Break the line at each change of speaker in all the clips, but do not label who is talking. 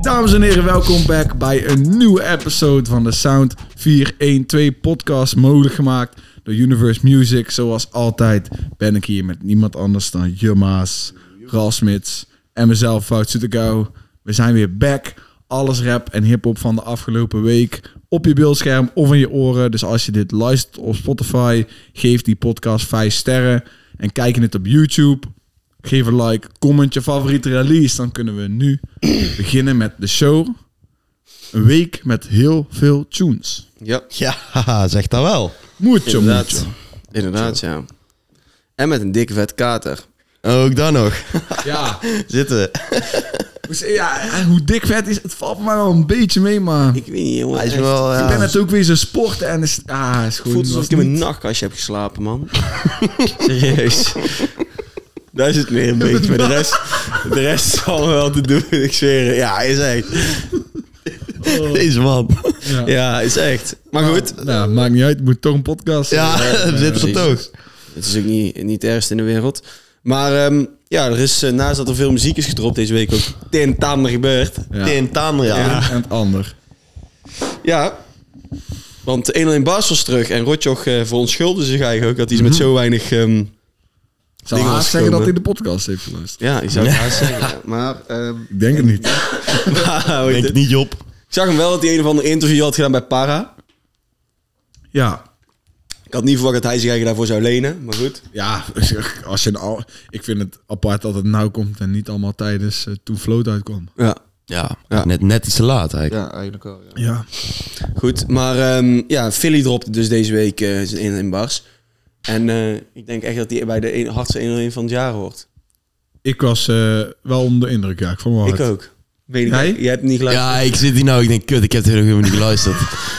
Dames en heren, welkom back bij een nieuwe episode van de Sound 412 podcast. Mogelijk gemaakt door Universe Music. Zoals altijd ben ik hier met niemand anders dan Jumma's, Rasmits en mezelf, Fout Soetekou. We zijn weer back. Alles rap en hip-hop van de afgelopen week op je beeldscherm of in je oren. Dus als je dit luistert op Spotify, geef die podcast 5 sterren. En kijk je het op YouTube, Geef een like, comment je favoriete release. Dan kunnen we nu beginnen met de show. Een week met heel veel tunes.
Ja,
Ja, zeg dat wel.
Mucho,
inderdaad.
mucho.
Inderdaad, ja. En met een dikke vet kater.
Ook dan nog.
Ja.
Zitten.
Dus ja, en hoe dik vet is, het valt me wel een beetje mee, maar... Ik
Ik weet niet, jongen.
Hij is
echt.
wel...
ben
Ja,
net ook weer zo sporten en is... Ah, is
Het
gewoon...
voelt alsof
was
ik in mijn
niet-
nachtkastje heb geslapen, man.
serieus.
Daar zit meer een
Weet je, maar de rest, de rest zal wel te doen. Ik zweer het. Ja, is echt. Deze man.
Ja.
Ja. is echt. Maar goed.
Ah,
Nou, maakt niet uit. Het moet toch een podcast
Ja,
zijn.
we zitten op
precies.
toog.
Het is ook niet, niet het ergste in de wereld. Maar ehm, ja, er is eh, naast dat er veel muziek is gedropt deze week ook ten tamer gebeurd.
Ja.
Tin Tamer, ja.
En het ander.
Ja. Want 1 in Baas was terug en Rotjoch eh verontschuldigde zich eigenlijk ook dat hij met zo weinig... ehm,
Zou
Dingen
haast zeggen
komen.
dat hij de podcast heeft geluisterd.
ja, ik zou het haast zeggen. Maar... ehm,
Ik denk het niet.
maar, hoe heet
Denk
het?
het niet, Job.
Ik zag hem wel dat hij een of ander interview had gedaan bij Para.
Ja.
Ik had niet verwacht dat hij zich eigenlijk daarvoor zou lenen, maar goed.
Ja, zeg, als je een al, ik vind het apart dat het nou komt en niet allemaal tijdens eh, toen Float uitkwam.
Ja,
Ja, Net, net iets te laat eigenlijk.
eigenlijk wel. Ja.
Ja.
Goed, maar ehm, ja, Philly dropte dus deze week eh, zijn 1 in bars. En eh, ik denk echt dat hij bij de een, hardste 1 van het jaar hoort.
Ik was eh, wel onder de indruk, ja. Ik vond wel
Ik
hard.
ook. Weet ik
Jij?
niet. Je hebt niet
Ja.
gelijk.
ik zit hier nou. Ik denk, kut, ik heb het helemaal niet geluisterd.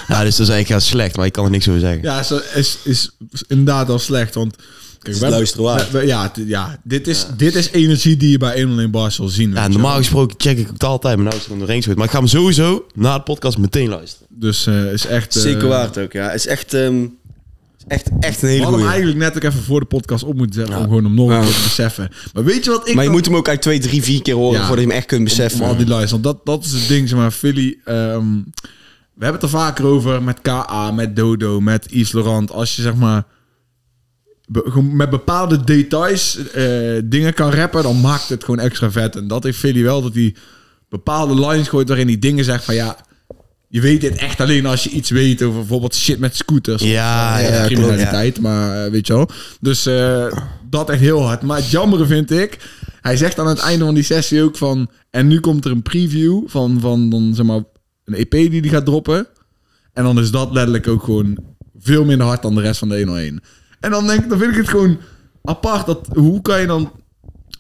ja, dus dat is eigenlijk heel slecht. Maar ik kan er niks over zeggen.
Ja, is, is, is inderdaad al slecht, want... Kijk,
het luisteren waard.
we- we- ja, t- ja, dit is, dit is energie die je bij 1 in Bars zal zien.
Ja,
weet je
normaal
wel.
gesproken check ik het altijd, maar nou is het om de range Maar ik ga hem sowieso na de podcast meteen luisteren.
Dus eh, is echt... eh,
Zeker waard ook, ja. Het is echt, ehm, is echt, echt een
We
hele
hadden hem
goeie.
eigenlijk net ook even voor de podcast op moeten zetten,
Ja.
om gewoon hem nog een
Ja.
keer te beseffen. Maar weet je wat ik
Maar je
dan-
moet hem ook uit twee, drie, vier keer
Ja.
horen voordat je hem echt kunt beseffen.
Om al die lies. Want dat, dat is het ding, zeg maar. Philly, ehm, we hebben het er vaker over met KA, met Dodo, met Yves Laurent. Als je zeg maar be- gewoon met bepaalde details eh, dingen kan rappen, dan maakt het gewoon extra vet. En dat heeft Philly wel, dat hij bepaalde lines gooit waarin hij dingen zegt van ja... Je weet dit echt alleen als je iets weet over bijvoorbeeld shit met scooters.
Ja,
of, eh,
ja, klopt,
criminaliteit, maar eh, weet je wel. Dus eh, dat echt heel hard. Maar het jammere vind ik, hij zegt aan het einde van die sessie ook van... En nu komt er een preview van, van dan, zeg maar, een EP die hij gaat droppen. En dan is dat letterlijk ook gewoon veel minder hard dan de rest van de 101. En dan, denk, ik- dan vind ik het gewoon apart. Dat, hoe kan je dan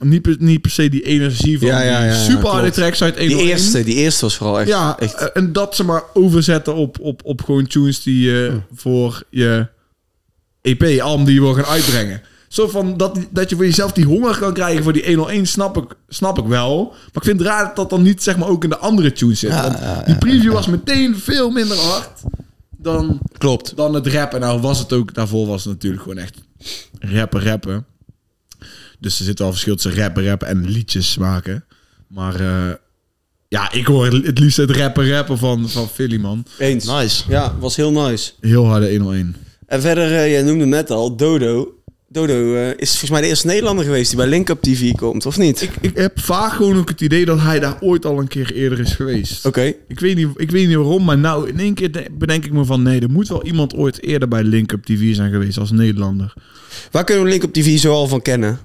niet per, niet per se die energie van
Ja, ja, ja,
die
ja,
super harde
klopt.
tracks uit 101...
Die eerste, die eerste was vooral echt...
Ja,
echt
eh, en dat ze maar overzetten op, op, op gewoon tunes die je voor je EP, album die je wil gaan uitbrengen. Zo van dat, dat je voor jezelf die honger kan krijgen voor die 101, snap ik, snap ik wel. Maar ik vind het raar dat dat dan niet zeg maar ook in de andere tunes zit. want die preview was meteen veel minder hard dan,
klopt.
dan het rappen. Nou was het ook, daarvoor was het natuurlijk gewoon echt rappen, rappen. Dus er zit wel verschil tussen rappen, rappen en liedjes maken. Maar eh, ja, ik hoor het liefst het rappen, rappen van, van Philly, man.
Eens.
Nice.
Ja, was heel nice.
Heel harde 101.
En verder, eh, jij noemde hem net al, Dodo. Dodo eh, is volgens mij de eerste Nederlander geweest die bij Link Up TV komt, of niet? Oké.
Ik heb vaak gewoon ook het idee dat hij daar ooit al een keer eerder is geweest. Ik weet, niet, ik weet niet waarom, maar nou in één keer de- bedenk ik me van... nee, er moet wel iemand ooit eerder bij Link Up TV zijn geweest als Nederlander.
Waar kunnen we Link Up TV zoal van kennen?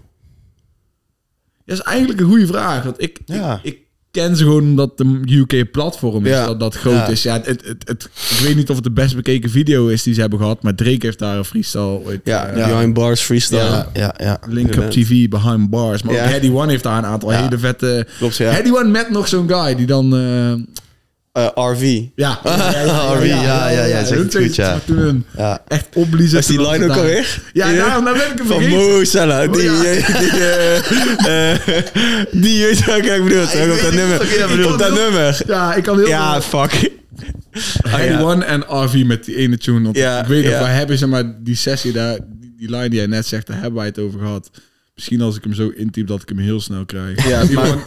Dat is eigenlijk een goede vraag. Want ik,
Ja.
ik, ik ken ze gewoon omdat de UK-platform is,
Ja.
dat dat groot
Ja.
is. Ja, het, het, het, het- ik weet niet of het de best bekeken video is die ze hebben gehad, maar Drake heeft daar een freestyle... ooit,
Ja,
eh,
Behind Bars Freestyle.
Ja, ja, ja.
Link Up TV, Behind Bars. Maar
Ja.
ook Heady One heeft daar een aantal
Ja.
hele vette...
Klopt, ja.
Heady One met nog zo'n guy die dan... eh,
Eh, RV.
ja.
Harvey, ja, ja, ja, zegt
Ook
het
zoiets,
goed, ja.
maar Toen een
Ja.
echt opbliezen.
Was die
toen
line
ze
ook
daar-
alweer?
Ja,
Ja.
daarom, nou ben ik hem
Van
vergeten.
Mo Salah. Die,
Oh, ja.
eh, die, eh, eh, die weet wat ik bedoel.
ik
Toch? Op
weet
dat
niet
nummer.
wat jij
bedoelt.
Op dat nummer.
Ja, ik kan heel
Ja, fuck. Ah,
Heady
ja.
One en RV met die ene tune. Want
Ja,
ik weet nog,
ja.
waar hebben ze maar die sessie daar, die, die line die jij net zegt, daar hebben wij het over gehad. Misschien als ik hem zo intyp dat ik hem heel snel krijg.
Ja,
Die gewoon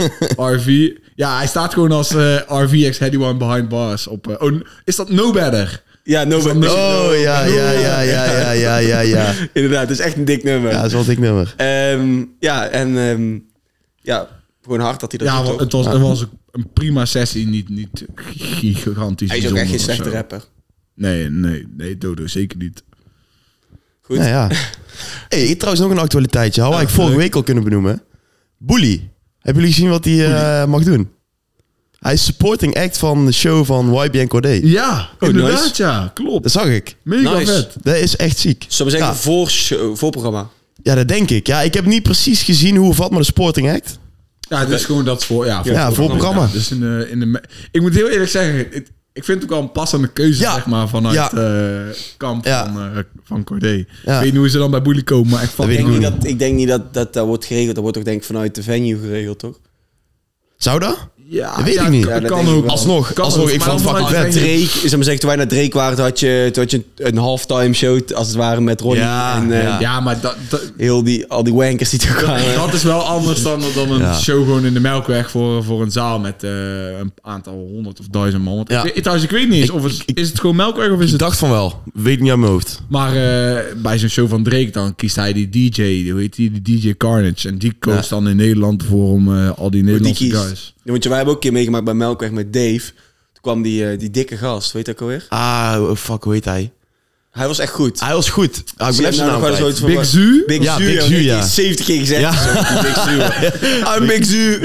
RV. Ja, hij staat gewoon als eh, RVX Heady One Behind Bars. Op, eh, oh, is dat No Better?
Ja, no, but no.
Oh ja, ja, ja, ja, ja, ja, ja, ja.
Inderdaad, het is echt een dik nummer.
Ja,
Ja,
dat is wel een dik nummer.
ja en ehm, ja, gewoon hard dat hij dat
Ja,
doet
want
ook.
het was, het was een prima sessie. Niet, niet gigantisch.
Hij is ook
bijzonder
echt geen
of
slechte
zo.
rapper.
Nee, nee, nee, Dodo, zeker niet.
Goed.
Nou ja. Ah, hey, ik trouwens nog een actualiteitje. Had ik vorige week al kunnen benoemen. Bully. Hebben jullie gezien wat hij eh, mag doen? Hij is supporting act van de show van YBN Corday.
Ja, inderdaad,
Oh, nice.
ja. Klopt.
Dat zag ik.
Mega
Nice.
vet.
Dat is echt ziek.
Zullen we zeggen,
Ja.
voor show, voor programma.
Ja, dat denk ik. Ja, ik heb niet precies gezien hoe of wat, maar de supporting act.
Ja, het is gewoon dat voor... Ja, voor,
Ja, voor programma.
Ja, dus in de, in de, me- ik moet heel eerlijk zeggen, het- ik vind het ook wel een passende keuze,
Ja.
zeg maar, vanuit
Ja.
eh, kamp
Ja.
van, eh, van Cordé. Ik
Ja.
weet niet hoe ze dan bij Boelie komen, maar ik
Ik
fucking
denk
goed.
niet dat, ik denk niet dat, dat dat wordt geregeld. Dat wordt toch denk ik vanuit de venue geregeld, toch?
Zou dat?
Ja,
Dat weet
ja,
ik niet.
kan-
Ja, dat
kan
denk ik
ook.
wel.
Alsnog,
Kan
alsnog,
ook,
ik
maar
vond het
dan
fucking
vanuit
vet.
Drake-
Drake, zeg maar zeggen, toen wij naar Drake waren, toen had je, toen had je een halftime show, t- als het ware, met Ronnie.
Ja,
en eh,
Ja, maar dat, dat,
heel die, al die wankers die toen kwamen.
dat is wel anders dan, dan een
Ja.
show gewoon in de Melkweg voor, voor een zaal met eh, een aantal honderd of duizend man. Want
Ja.
ik, weet- trouwens, ik weet niet eens, of het, is het gewoon Melkweg of is
Ik
het...
dacht van wel. Weet niet uit mijn hoofd.
Maar eh, bij zo'n show van Drake dan kiest hij die DJ, hoe heet die, die DJ Carnage. En die koos dan in Nederland voor om eh, al die
die
Nederlandse
kiest.
guys.
Ja, want wij hebben ook een keer meegemaakt bij Melkweg met Dave. Toen kwam die, eh, die dikke gast, weet je dat ook alweer?
Ah, oh, fuck, hoe heet hij?
Hij was echt goed.
Hij was goed. Ah,
Zie
ik
je
blijf zijn
hem
naam
nou nog wel eens
kwijt.
ooit van-
Big Zu?
Big
Ja,
Zu,
Big
ja,
Zu,
die
ja.
heeft 70 keer gezegd.
Ja.
Ja. Big Zu. I'm Big Zu.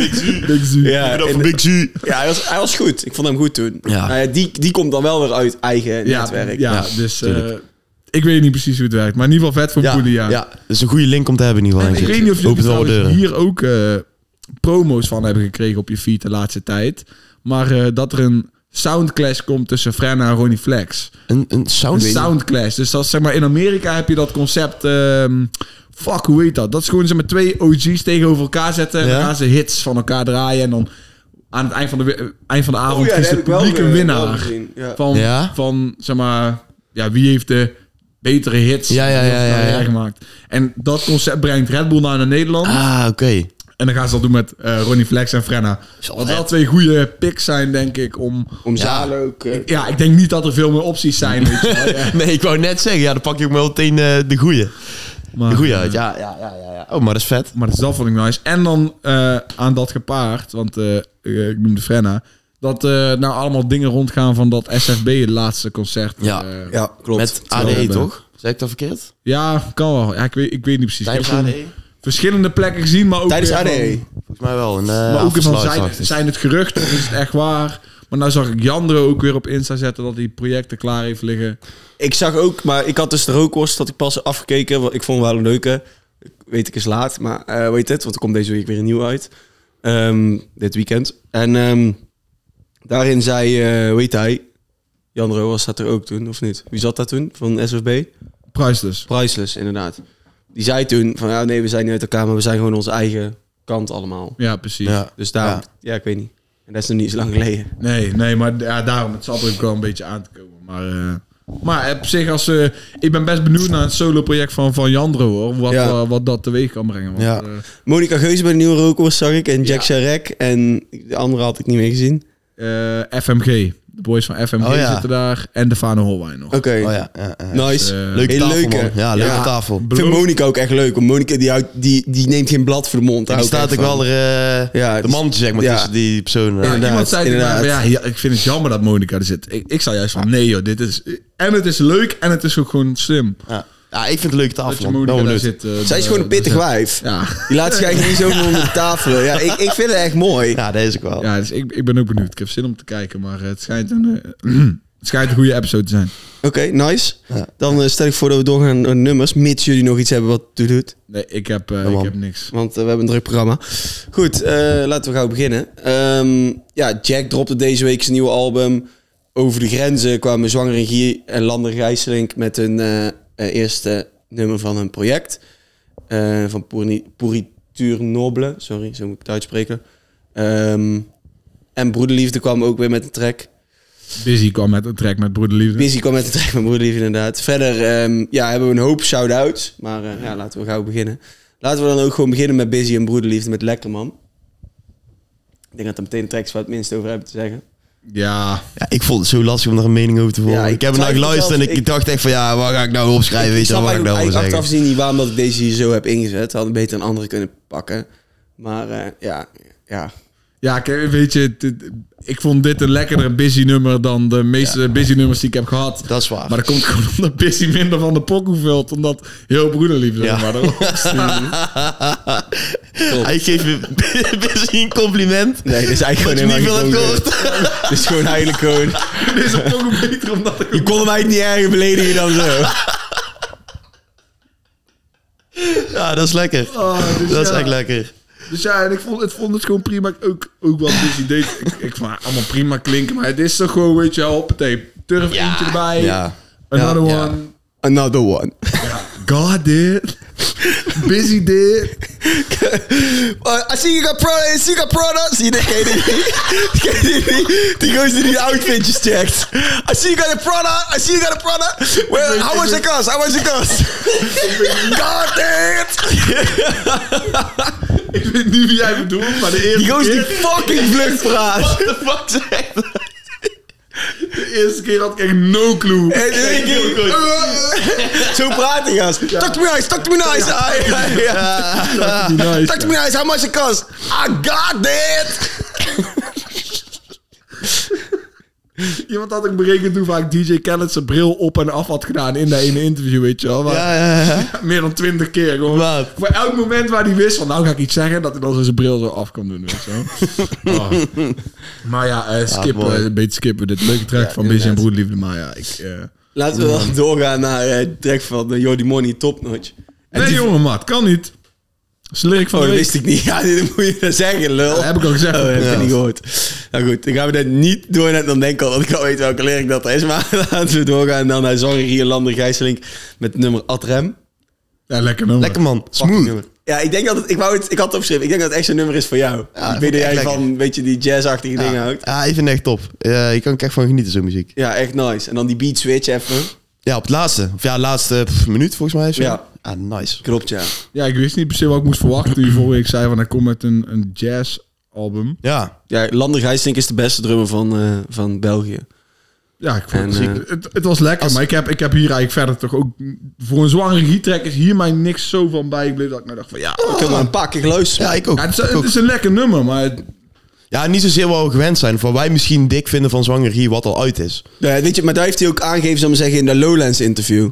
Big Zu.
Ja,
Over
en-
Big G.
ja hij, was, hij was goed. Ik vond hem goed toen.
Ja.
Nou die, die komt dan wel weer uit eigen netwerk. Oh
Ja,
Ja,
dus eh,
tuurlijk.
ik weet niet precies hoe het werkt. Maar in ieder geval vet voor
Ja,
Boelie, ja.
ja. Dat is een goede link om te hebben in ieder
En
geval.
ik
denk
weet niet of jullie
Opent wel wat
trouwens
deuren.
hier ook eh, promo's van hebben gekregen op je feed de laatste tijd. Maar eh, dat er een soundclash komt tussen Frenna en Ronnie Flex.
Een, een sound.
Een soundclash. Dus dat is, zeg maar in Amerika heb je dat concept. ehm, fuck, hoe heet dat? Dat is gewoon zeg maar twee OG's tegenover elkaar zetten. En
Ja.
dan gaan ze hits van elkaar draaien. En dan aan het eind van de, we- eh, eind van de avond
Oh ja,
kiest het
dat heb ik wel,
publiek een
eh, wel
winnaar.
gezien. Ja.
Van,
Ja.
van zeg maar, ja, wie heeft de betere hits
Ja, ja,
en
ja, ja,
carrière
ja.
gemaakt. En dat concept brengt Red Bull naar Nederland.
Ah, oké.
En dan gaan ze dat doen met eh, Ronnie Flex en Frenna. Wat wel twee goede picks zijn, denk ik, om...
Om zalen ook... eh,
Ja, ik denk niet dat er veel meer opties zijn, weet je wel. Ja.
Nee, ik wou net zeggen, ja, dan pak je ook wel meteen eh, de goeie.
Maar,
De goeie uit, ja, ja, ja, ja, ja. Oh, maar dat is vet.
Maar dat is dat vond ik nice. En dan eh, aan dat gepaard, want eh, eh, ik noemde Frenna, dat eh nou allemaal dingen rondgaan van dat SFB, het laatste concert.
Ja.
eh,
ja, klopt.
Met
wel
ADE,
hebben.
toch? Zeg ik dat verkeerd?
ja, kan wel. Ja, ik, weet, ik weet niet precies.
Tijdens E.
ik heb
ADE?
van verschillende plekken gezien, maar ook...
Tijdens E.
weer van-
ADE.
Volgens mij wel. Een, eh,
maar ook weer van,
afsluit,
zijn,
dacht ik.
zijn het geruchten of is het echt waar? Maar nou zag ik Jandro ook weer op Insta zetten dat hij projecten klaar heeft liggen.
Ik zag ook, maar ik had dus de rookworst dat ik pas afgekeken. want Ik vond hem wel een leuke. Ik Weet ik is laat, maar eh, weet het, want er komt deze week weer een nieuw uit. Ehm, dit weekend. En ehm, daarin zei, eh hoe heet hij? Jan Roas zat er ook toen, of niet? Wie zat daar toen van SFB?
Priceless.
Priceless, inderdaad. Die zei toen van, ja, nee, we zijn niet uit elkaar, maar we zijn gewoon onze eigen kant allemaal.
Ja, precies.
Ja.
Dus daar, ja.
Ja.
ik weet niet. En dat is nog niet zo lang geleden.
Nee, nee, maar ja, daarom, het zal er ook wel een beetje aan te komen. Maar, eh, maar op zich, als, eh, ik ben best benieuwd naar het solo-project van, van Jandro, hoor. Wat,
Ja.
eh, wat dat teweeg kan brengen. Want,
Ja.
eh,
Monica Geuze bij de nieuwe rookworst zag ik. En Jack
Ja.
Charek. En de andere had ik niet meer gezien.
eh, FMG, de boys van FMG
Oh, ja.
zitten daar en de Fano Holwijn nog.
Oké.
Oh ja, ja, ja.
Nice.
Eh,
Leuke
Heel
tafel,
leuke.
man. Ja, leuke
Ja.
tafel.
Ik vind Monika ook echt leuk. Want Monika die, houdt, die, die neemt geen blad voor de mond.
Die
Daar hou
staat ook
ik echt
wel
van.
er, eh,
Ja,
de
dus-
mand, zeg maar,
ja.
tussen die personen.
Ja,
inderdaad,
iemand zei tegen mij,
inderdaad.
van, ja, ja, ik vind het jammer dat Monica er zit. Ik, ik zou juist van, nee joh, dit is... En het is leuk en het is ook gewoon slim.
Ja. Ja, ik vind het een leuke
Dat je
tafel, man.
Monica
Nou,
daar
leuk.
zit. eh,
Zij
de-
is gewoon een pittig
de-
wijf.
Ja.
Die laat zich eigenlijk niet zo onder de tafelen. Ja, ik, ik vind het echt mooi.
Ja, dat is ook wel.
Ja, dus ik, ik ben ook benieuwd. Ik heb zin om te kijken, maar eh, het schijnt een, eh, het schijnt een goede episode te zijn.
Oké, nice. Dan eh, stel ik voor dat we doorgaan naar nummers. Mits jullie nog iets hebben wat toe doet.
Nee, ik heb, eh, ik
man.
heb niks.
Want eh, we hebben een druk programma. Goed, eh, laten we gauw beginnen. Ehm, ja, Jack dropte deze week zijn nieuwe album. Over de grenzen kwamen Zwanger en Gier en Lander Gijsselink met hun eh, eh, eerste nummer van hun project. Eh, van Pourni- Pourriture Noble. Sorry, zo moet ik het uitspreken. Ehm, en Broederliefde kwam ook weer met een track.
Busy kwam met een track met Broederliefde.
Busy kwam met een track met Broederliefde inderdaad. Verder ehm, ja, hebben we een hoop shout-outs. Maar eh, ja, laten we gauw beginnen. Laten we dan ook gewoon beginnen met Busy en Broederliefde met Lekkerman. Ik denk dat dat meteen de tracks waar we het minst over hebben te zeggen.
Ja,
Ja, ik vond het zo lastig om daar een mening over te vormen.
Ja, ik
ik, heb er naar
twijfel
geluisterd en
zelfs,
ik,
ik-
dacht echt van ja, waar ga ik nou opschrijven? Weet je wel,
snap
wat ga ik nou
eigenlijk,
over
eigenlijk
zeggen?
achteraf gezien niet waarom dat ik deze hier zo heb ingezet. Hadden beter een andere kunnen pakken. Maar eh, ja, ja.
Ja, kijk, weet je, het- het- ik vond dit een lekkerdere busy nummer dan de meeste busy nummers die ik heb gehad.
Dat is waar.
Maar dat komt gewoon omdat busy minder van de pokoe vult, omdat heel broederliefde
Ja.
maar erop staat.
Hij geeft me misschien een compliment.
Nee, dit is eigenlijk
Dat je
gewoon
niet veel
helemaal
hebt
niet
gehoord.
Het is gewoon eigenlijk gewoon...
Dit is een pokoe beter omdat ik...
Je kon hem eigenlijk niet erger beledigen dan zo.
Ja, dat is lekker.
Ah, dus
dat is
ja.
echt lekker.
Dus ja, en ik vond het, vond het gewoon prima. Ook, ook wat busy deed. Ik, ik vond het allemaal prima klinken, maar het is toch gewoon, weet je wel, hoppatee. Turf
Ja,
eentje erbij.
ja.
Another
Ja, ja.
one.
Another one.
God did. busy did.
I see you got Prada, I see you got Prada. Zie je dit? Ken je dit niet? Ken je dit niet? Die gozer die de outfitjes checkt. I see you got a Prada, I see you got a Prada. Well, how much it cost? How much it cost? God damn it!
Ik weet niet wie jij bedoelt, maar de
Die
eerste
gozer die
keer...
fucking vlug praat.
the fuck zegt dat?
De eerste keer had ik echt no clue.
En in één keer- Zo praat die gast. Talk to me nice, talk to me nice. I- I-
Niet nice,
Talk to
ja.
me nice, how much it cost? I got it!
Iemand had ook berekend hoe vaak DJ Khaled zijn bril op en af had gedaan in dat ene interview, weet je wel. Maar
Ja, ja, ja.
Meer dan twintig keer. Gewoon.
Wat?
Voor elk moment waar hij wist van, nou ga ik iets zeggen, dat hij dan zo zijn bril zo af kan doen, weet je wel. Ah. Maar ja, eh, skip,
mooi.
eh, een beetje skippen. Dit leuke track van Busy en Broederliefde, maar ja, ik... eh,
Laten we dan doorgaan naar eh, de track van eh, Jordi Money, Top Notch. En
Nee
die-
jongen, maat, kan niet. Dat is een lyric van
Oh,
de
dat
week.
wist ik niet. Ja, dit moet je dan zeggen, lul.
Dat heb ik al gezegd.
Oh,
op de
dat heb ik
podcast.
niet gehoord. Nou goed, dan gaan we dat niet door. En dan denk ik al dat ik al weet welke lyric dat is. Maar laten we doorgaan dan naar Zorg hier, Lander Gijsselink met het nummer Adrem.
Ja, lekker nummer.
Lekker man. Smooth.
Ja, ik denk dat het, ik, wou het, ik had het opgeschreven. Ik denk dat het echt zo'n nummer is voor jou.
Ja,
ik
vond
weet
ik
dat jij
echt
van een beetje die jazzachtige dingen
Ja,
houdt.
ja, ik vind het echt top. Ja, je kan er echt van genieten, zo'n muziek.
Ja, echt nice. En dan die beat switch even.
Ja, op het laatste. Of ja, laatste eh, pff, minuut volgens mij. of zo.
Ja.
Ah, nice.
Klopt, ja.
Ja, ik wist niet per se wat ik moest verwachten. Toen je vorige week zei van, hij komt met een, een jazz album.
Ja.
Ja, Lander Gijsselink is de beste drummer van, eh, van België.
Ja, ik vond het,
En,
ziek. het, het was lekker,
als-
maar ik heb, ik heb hier eigenlijk verder toch ook... Voor een zwangere gietrek is hier mij niks zo van bijgebleven dat ik nou dacht van, ja...
Ik heb maar een paar keer geluisterd.
Ja, ik ook.
ja, het, is,
Ik ook.
het is een lekker nummer, maar... het-
Ja, niet zozeer wat we gewend zijn. Voor wij misschien dik vinden van zwanger hier wat al uit is.
Nee, weet je, maar daar heeft hij ook aangegeven, zal ik maar zeggen, in de Lowlands interview.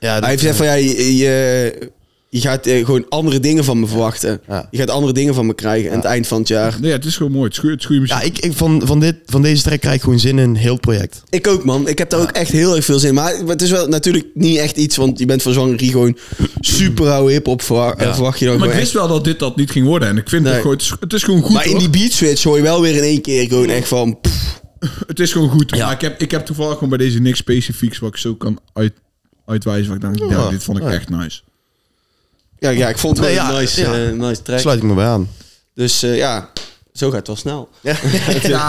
Ja, dat-
Hij heeft gezegd van, ja, je, je, je gaat eh, gewoon andere dingen van me verwachten.
Ja.
Je gaat andere dingen van me krijgen aan het eind van het jaar.
Nee, het is gewoon mooi. Het is goe- het is goede muziek.
ja ik, ik, van, van, dit, van deze track krijg ik gewoon zin in een heel project.
Ik ook, man. Ik heb daar ook echt heel erg veel zin in. Maar het is wel natuurlijk niet echt iets, want je bent van zwanger die gewoon super oude hip-hop verwa- eh, verwacht je dan
maar ik
gewoon
wist
echt.
wel dat dit dat niet ging worden. En ik vind
Nee.
het gewoon... Het is, het is gewoon goed,
Maar in
hoor.
die beat switch hoor je wel weer in één keer gewoon echt van... pff,
Het is gewoon goed. Maar ik heb, ik heb toevallig gewoon bij deze niks specifieks wat ik zo kan uit, uitwijzen. Wat ik denk, ja,
Ja.
dit vond ik
Ja.
echt nice.
ja, ja, ik vond het wel
Nee, ja,
een nice,
ja.
eh, nice track.
Sluit ik me bij aan.
Dus eh, ja, zo gaat het wel snel.
Ja,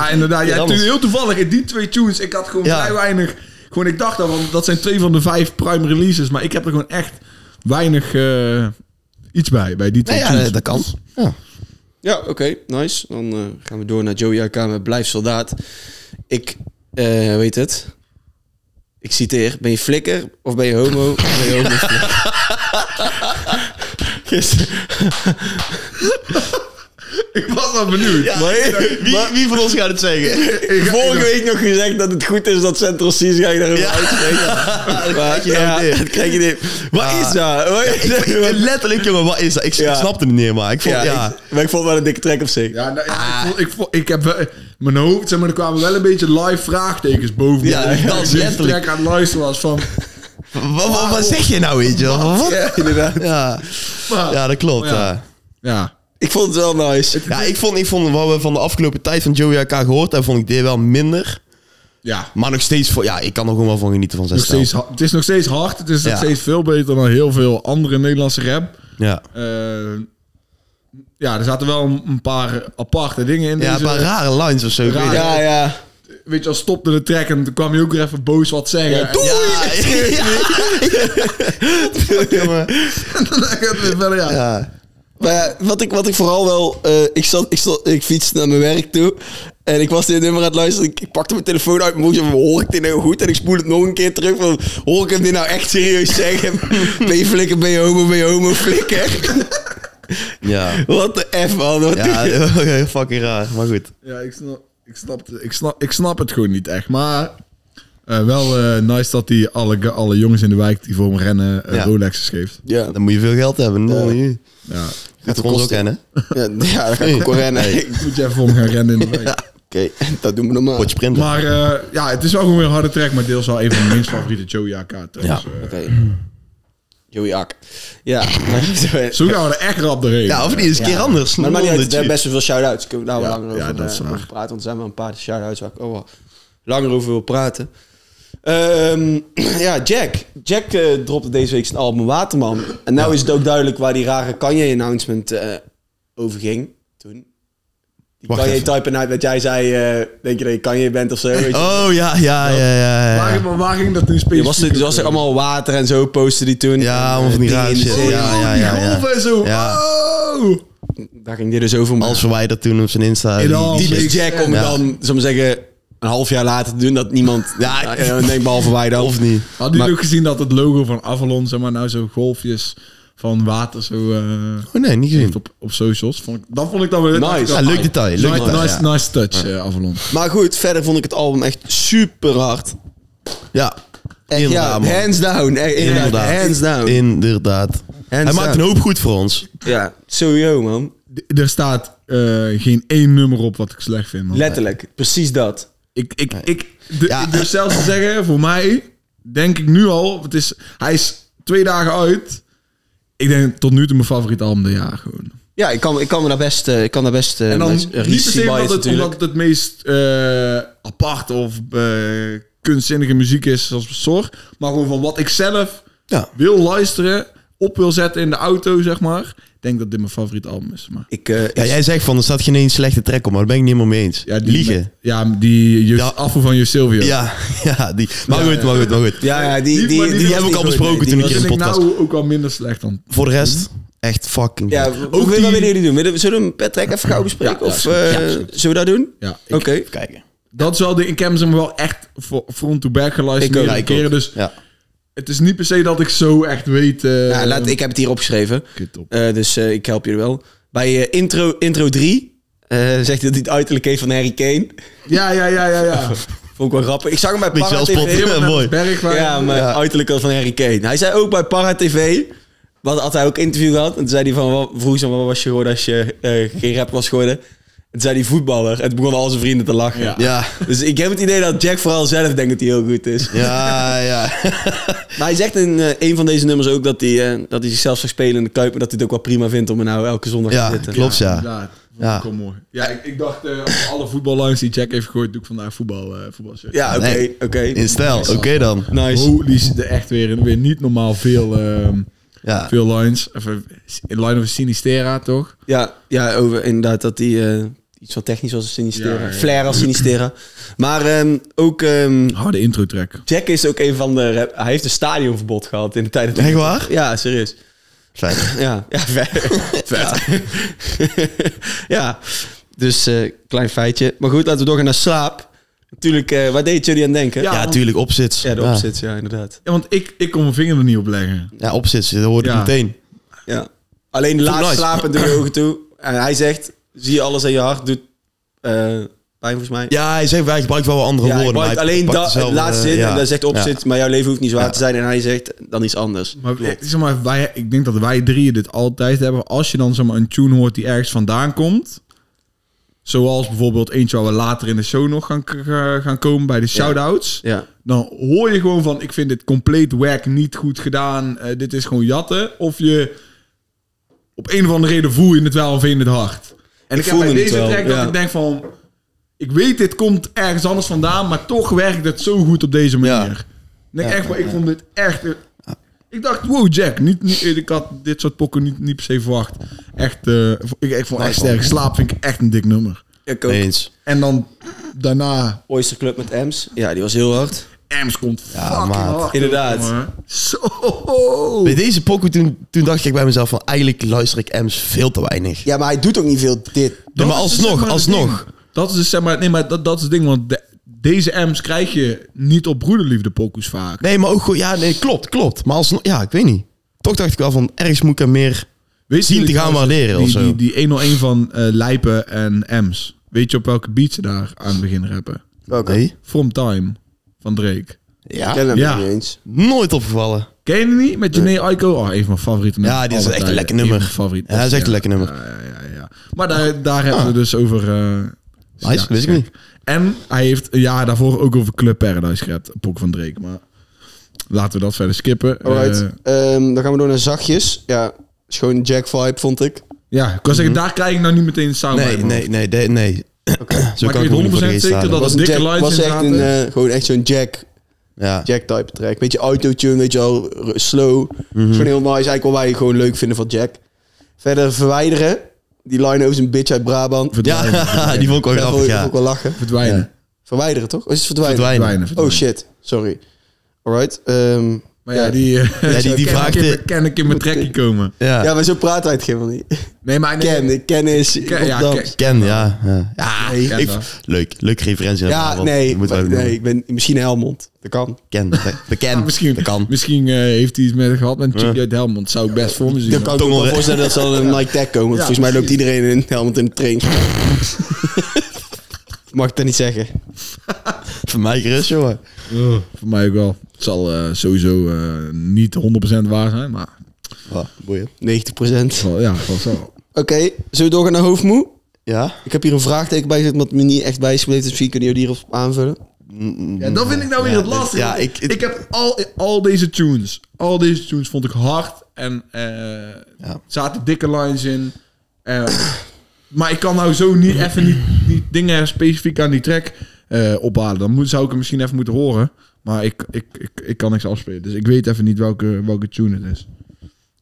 inderdaad. Ja,
Ja,
toen
anders.
heel toevallig in die twee tunes. Ik had gewoon
Ja.
vrij weinig. Gewoon, ik dacht dat, want dat zijn twee van de vijf prime releases. Maar ik heb er gewoon echt weinig eh, iets bij. Bij die twee
Nee, ja,
tunes.
dat- dat kan. Ja.
Ja, oké, nice. Dan eh, gaan we door naar Joey AK met Blijf Soldaat. Ik, eh, weet het. Ik citeer, ben je flikker of ben je homo? Of ben je homo Gisteren.
Ik was al benieuwd.
wie, wie van ons gaat het zeggen?
Vorige week nog gezegd dat het goed is dat Central Seas ga ik daarover
Ja.
uitspreken. Maar, ja,
nou dit.
dat krijg je dit. Wat
Ja.
is dat? Wat is dat?
Letterlijk, jongen, wat is dat? Ik
Ja.
snapte het niet meer, maar ik vond...
Ja,
Ja,
Ik, maar ik vond het wel een dikke trek op zich.
Ja, nou, ja,
Ah.
ik, vond, ik, vond- ik heb wel- mijn hoofd, zeg maar, er kwamen wel een beetje live vraagtekens boven.
Ja,
me. Dus
dat is
ik
letterlijk.
direct aan het luisteren was van...
Wat, wat, wat zeg je nou, weet je wel? Wat?
Ja, inderdaad.
Ja.
maar-
ja, dat klopt.
Ja.
ja.
ja.
Ik vond het wel nice.
Ja, ik vond, ik vond wat we van de afgelopen tijd van Joey AK gehoord hebben, vond ik dit wel minder.
ja.
Maar nog steeds, voor, ja, ik kan er gewoon wel van genieten van zijn
Nog
stijl.
steeds, ha- het is nog steeds hard. Het is nog
Ja.
steeds veel beter dan heel veel andere Nederlandse rap.
Ja.
Eh, ja, er zaten wel een, een paar aparte dingen in.
ja,
deze, eh,
een paar rare lines of zo. ik
Raar.
weet het.
Ja, ja.
Weet je, al stopte de track en toen kwam je ook weer even boos wat zeggen. En-
doe-
Ja, ja, ja.
en dan gaat het weer verder, ja.
Ja.
Maar ja, wat ik, wat ik vooral wel... eh, ik, zat, ik, zat, ik fietste naar mijn werk toe. En ik was dit nummer aan het luisteren. Ik, ik pakte mijn telefoon uit mijn broekje. van, Hoor ik dit nou goed? En ik spoel het nog een keer terug. Van, hoor ik hem dit nou echt serieus zeggen? ben je flikker, ben je homo, ben je homo, flikker?
Ja.
Wat de F, man. Wat doe
Ja,
je?
heel fucking raar. Maar goed.
Ja, ik snap, ik, snap, ik, snap, ik snap het gewoon niet echt. Maar eh, wel eh, nice dat hij alle, alle jongens in de wijk die voor hem rennen eh,
Ja.
Rolexes geeft.
Ja,
Dan moet je veel geld hebben. Dan moet je-
Ja,
Gaat voor ons ook
kosten.
kennen.
ja, ja dan ga ik ook wel rennen. Oké,
moet je even voor hem gaan rennen in de wijk.
dat doen we normaal.
Potje printen.
Maar eh, ja, het is wel gewoon weer een harde track, maar deels wel een van mijn minst favoriete Joey AK. Ja.
Oké. Joey Ak. Ja. maar-
zo gaan we er echt rap doorheen.
Ja, of niet? Is een keer anders.
Maar, maar niet
Man,
uit,
dit
er zijn
shit.
best wel veel shout-outs. Kunnen we daar wel
Ja,
langer
ja,
over,
dat is
eh,
waar.
over praten. Want er zijn wel een paar shout-outs waar ik oh, wel langer over wil praten. Ehm, ja, Jack. Jack eh, dropte deze week zijn album Waterman. En nou is het ook duidelijk waar die rare Kanye-announcement eh, over ging. Toen. Die
Wacht
Kanye
even.
type night dat jij zei, eh, denk je dat je Kanye bent of zo. Weet je?
Oh ja, ja, ja, ja. ja.
Waar, maar waar ging dat toen
Die
specifiek?
was, er- die was er allemaal water en zo posten die toen. Eh,
Ja, allemaal van die
Dingen
rare
in de
shit.
zee.
Ja, ja, ja, ja.
Die golven en zo.
Ja.
Oh!
Daar ging dit dus over. maar-
Als verwijderd toen op zijn Insta. Die-
al-
die-
Die
Precies.
Big Jack om
Ja.
dan, zal ik maar zeggen, een half jaar later te doen dat niemand...
Ja,
ja, ja, denk behalve wij dan.
Of niet.
Had jullie
Maar-
ook gezien dat het logo van Avalon, zeg maar, nou zo golfjes van water zo eh,
Oh nee, niet gezien.
heeft op, op socials? Vond ik, dat vond ik dan weer
Nice.
dacht ik
Ja,
dan,
leuk detail. Leuk
nice,
detail.
nice,
ja.
nice touch, eh, Avalon.
Maar goed, verder vond ik het album echt super hard.
Ja.
Echt, ja,
Inderdaad, man.
hands down. Echt, inderdaad,
Inderdaad.
Hands down.
Inderdaad. Hij
down.
maakt een hoop goed voor ons.
ja, sowieso man.
D- er staat eh, geen één nummer op wat ik slecht vind. man.
Letterlijk, precies dat.
Ik, ik, ik, de-
Ja.
ik durf zelfs te zeggen, voor mij denk ik nu al, het is, hij is twee dagen uit. Ik denk tot nu toe mijn favoriete album dit jaar gewoon.
Ja, ik kan, ik kan me daar best... eh, Ik kan daar best eh,
En dan
mijn-
niet
eh,
per
recensie
se
bias
omdat het, omdat
natuurlijk.
het het meest eh, apart of eh, kunstzinnige muziek is, zoals Sor. Maar gewoon van wat ik zelf
Ja.
wil luisteren, op wil zetten in de auto, zeg maar. Ik denk dat dit mijn favoriete album is. Maar.
Ik, eh,
Ja, jij zegt van, er staat geen één slechte track op, maar daar ben ik niet helemaal mee eens.
Ja, die,
Liegen.
Ja, die Jus-
Ja.
afvoer van Jus Silvio.
Ja, ja, die. Maar goed, maar goed, maar goed.
ja, ja, die, die,
Die- maar die
was
hebben we
niet
ook al
goed,
besproken
nee,
toen
die
Dat
ik-
was-
vind ik
podcast.
nou ook wel minder slecht dan
Voor de rest, echt fucking
Ja,
goed.
ook
die-
willen we jullie doen? Willen we- Zullen we hem per track even gauw bespreken?
ja,
of
is goed.
eh,
Ja, is
zullen we dat doen?
Ja,
Oké.
Even kijken.
Dat is wel de... Ik heb hem wel echt fo- front to back geluisterd.
Ik ook.
meerdere
Ja, ik
keren, dus
Ja.
het is niet per se dat ik zo echt weet... eh,
Ja, laat, ik heb het hier opgeschreven.
Kut op.
Eh, dus eh, ik help jullie wel. Bij eh, intro, intro 3 eh, zegt hij dat hij het uiterlijk heeft van Harry Kane.
Ja, ja, ja, ja, ja.
Vond ik wel grappig. Ik zag hem bij
Beetje
Para
als
TV.
Pop. Ja, mooi.
Berg waar-
Ja, maar
Ja.
uiterlijk wel van Harry Kane. Hij zei ook bij Para TV. Wat had hij ook interview gehad. En toen zei hij van, wat, vroeg ze hem, wat was je geworden als je eh, geen rap was geworden? En toen zei hij voetballer. En toen begonnen al zijn vrienden te lachen.
Ja.
Ja,
Dus ik heb het idee dat Jack vooral zelf denkt dat hij heel goed is.
ja, ja.
Maar hij zegt in eh, een van deze nummers ook dat hij, eh, dat hij zichzelf zag spelen in de Kuip. En dat hij het ook wel prima vindt om er nou elke zondag
Ja,
te zitten.
klopt ja.
inderdaad. Vond
Ja.
ik wel mooi. Ja, ik, ik dacht, eh, als alle voetballines die Jack heeft gegooid, doe ik vandaag voetbal, eh voetbalshirt.
Ja, oké,
Nee.
oké.
In stijl, oké dan.
Nice.
Holy shit, echt weer, weer niet normaal veel, ehm,
Ja.
veel lines. Even, in line of Sinistera, toch?
Ja, ja over, inderdaad dat die eh, iets wat technisch was als Sinistera.
Ja, ja, ja.
Flair als Sinistera. Maar ehm, ook ehm,
Harde intro track.
Jack is ook een van de... rap- Hij heeft een stadionverbod gehad in de tijd... dat-
Echt waar?
Ja, serieus.
Fijn.
Ja, ja vet. vet. ja, dus eh, klein feitje. Maar goed, laten we doorgaan naar slaap. Natuurlijk, eh, waar deed het jullie aan denken?
Ja,
Ja,
want-
tuurlijk, opzits.
Ja, de
Ja.
opzits, ja, inderdaad.
Ja, want ik, ik kon mijn vinger er niet op leggen.
Ja, opzits, dat hoorde ik
Ja.
meteen.
Ja. Alleen laat
nice.
slapen door je ogen toe. En hij zegt, zie je alles aan je hart, doet eh, pijn volgens mij.
Ja, hij zegt, hij gebruikt wel wat andere
Ja, hij
woorden. maar
pakt
hij
alleen
pakt
dat het
dezelfde,
laatste
eh,
zin
ja.
en daar zegt op
Ja.
zit, maar jouw leven hoeft niet zwaar
Ja.
te zijn. En hij zegt dan iets anders.
Maar, eh, zeg maar wij, ik denk dat wij drieën dit altijd hebben. Als je dan zeg maar, een tune hoort die ergens vandaan komt. Zoals bijvoorbeeld eentje waar we later in de show nog gaan, k- gaan komen bij de shout-outs.
Ja.
Dan hoor je gewoon van, ik vind dit compleet wack, niet goed gedaan. eh, dit is gewoon jatten. Of je, op een of andere reden voel je het wel of in het hard. En ik, heb
voelde
bij
het
deze
wel,
track dat
ja.
ik denk van... Ik weet, dit komt ergens anders vandaan, maar toch werkt het zo goed op deze manier. Ik denk echt, maar ik vond dit echt... eh, Ik dacht, wow, Jack. Niet, niet, ik had dit soort pokken niet, niet per se verwacht. Echt, eh, ik, ik vond echt sterk. Slaap vind ik echt een dik nummer.
Ik ook.
Eens.
En dan daarna
Oyster Club met Ems. Ja, die was heel hard.
Ems komt fucking
maat.
hard.
Inderdaad.
jongen. Zo.
Bij deze pokoe toen, toen dacht ik bij mezelf van eigenlijk luister ik Ems veel te weinig.
Ja, maar hij doet ook niet veel dit.
Dat
maar
is dus
alsnog,
zeg maar het
alsnog.
ding. Dat is dus zeg maar, nee, maar dat, dat is het ding, want de- deze M's krijg je niet op broederliefde pokoes vaak.
Nee, maar ook goed. Ja, nee, klopt, klopt. Maar alsnog, ja, ik weet niet. Toch dacht ik wel van ergens moet ik hem meer.
Weet
Zien
jullie
te gaan
trouwens
waarderen
die,
of
Die,
zo.
die 101 van eh, Lijpen en M's. Weet je op welke beat ze daar aan het begin rappen?
Welke?
Nee.
From Time van Drake.
Ik
Ja.
ken hem
Ja.
niet eens.
Nooit opgevallen.
Ken je die niet? Met Jene Aiko? Oh, een van mijn favoriete nummers.
Ja, die is
Alle
echt
tijden.
een lekker nummer.
Een van mijn favoriete.
Ja, dat is echt een lekker nummer.
Ja, ja, ja, ja. Maar daar, daar hebben we dus over... eh
Nice, wist ik
gek.
niet.
En hij heeft een jaar daarvoor ook over Club Paradise gered. Een pok van Drake, maar... Laten we dat verder skippen.
Alright.
Eh,
Ehm, dan gaan we door naar zachtjes. Ja, is gewoon een Jack vibe, vond ik.
ja, ik kan zeggen, daar krijg ik nou niet meteen een sound
Mhm. Nee,
bij, man.
nee, nee, nee. nee. Zo
Maar
kan
ik weet
ik me niet voor de
100%
geest
zeker
halen.
dat-
Was een
dikke
Jack,
lines
was echt
inderdaad,
een,
hè?
eh, gewoon echt zo'n Jack,
Ja.
Jack type track. Beetje autotune, weet je wel, r- slow. Is gewoon heel nice. Eigenlijk wat wij gewoon leuk vinden van Jack. Verder verwijderen. Die line is een bitch uit Brabant.
Verdwijnen.
Ja, die vond ik
Daarvoor
wel grappig,
vond ik
ja.
ook wel lachen.
Verdwijnen.
Ja.
Verwijderen toch? Of is het verdwijnen?
Verdwijnen.
Verdwijnen, verdwijnen.
Oh shit, sorry. Alright. ehm,
Maar ja, die... eh,
Ja, die, die
ken
vraagt...
ik in-
eh,
Ken ik in mijn trekkie komen.
Ja,
Ja, maar zo praten wij het helemaal niet.
Nee, maar... nee,
Ken, ken is.
Ken- ja,
Rotterdam.
ken-
Ken, ja. ja. Ja,
Nee.
ik- leuk. Leuke referentie. aan
Ja,
Brabant.
nee.
Dat moeten we
maar-
ook
nee,
noemen.
ik ben misschien Helmond. Dat kan.
Ken. De, de Ken.
Ah, misschien
Dat kan.
misschien eh, heeft hij iets met gehad met een Chick uit Helmond. Zou ik best voor me zien.
Dan kan ik me ook wel
Tongel-
voorstellen dat ze al een Nike Tech komen. Want
Ja,
volgens mij loopt
precies.
iedereen in Helmond in de train. Mag ik dat niet zeggen?
Voor mij gerust, jongen.
Eh, voor mij ook wel. Het zal eh, sowieso eh, niet 100% waar zijn, maar
90 procent.
wel, ja, wel zo.
Oké, zullen we doorgaan naar hoofdmoe?
Ja?
Ik heb hier een vraagteken bij gezet, wat me niet echt bij is gebleven. Dus misschien kunnen jullie hierop aanvullen.
Ja, dat vind ik nou weer het lastige.
ja,
want ik,
ik-
ik heb al, al deze tunes, al deze tunes vond ik hard en eh
Ja.
zaten dikke lines in. Eh, maar ik kan nou zo niet even niet, niet dingen specifiek aan die track eh, ophalen. Dan moet, zou ik hem misschien even moeten horen. Maar ik, ik, ik, ik kan niks afspelen. Dus ik weet even niet welke, welke tune het is.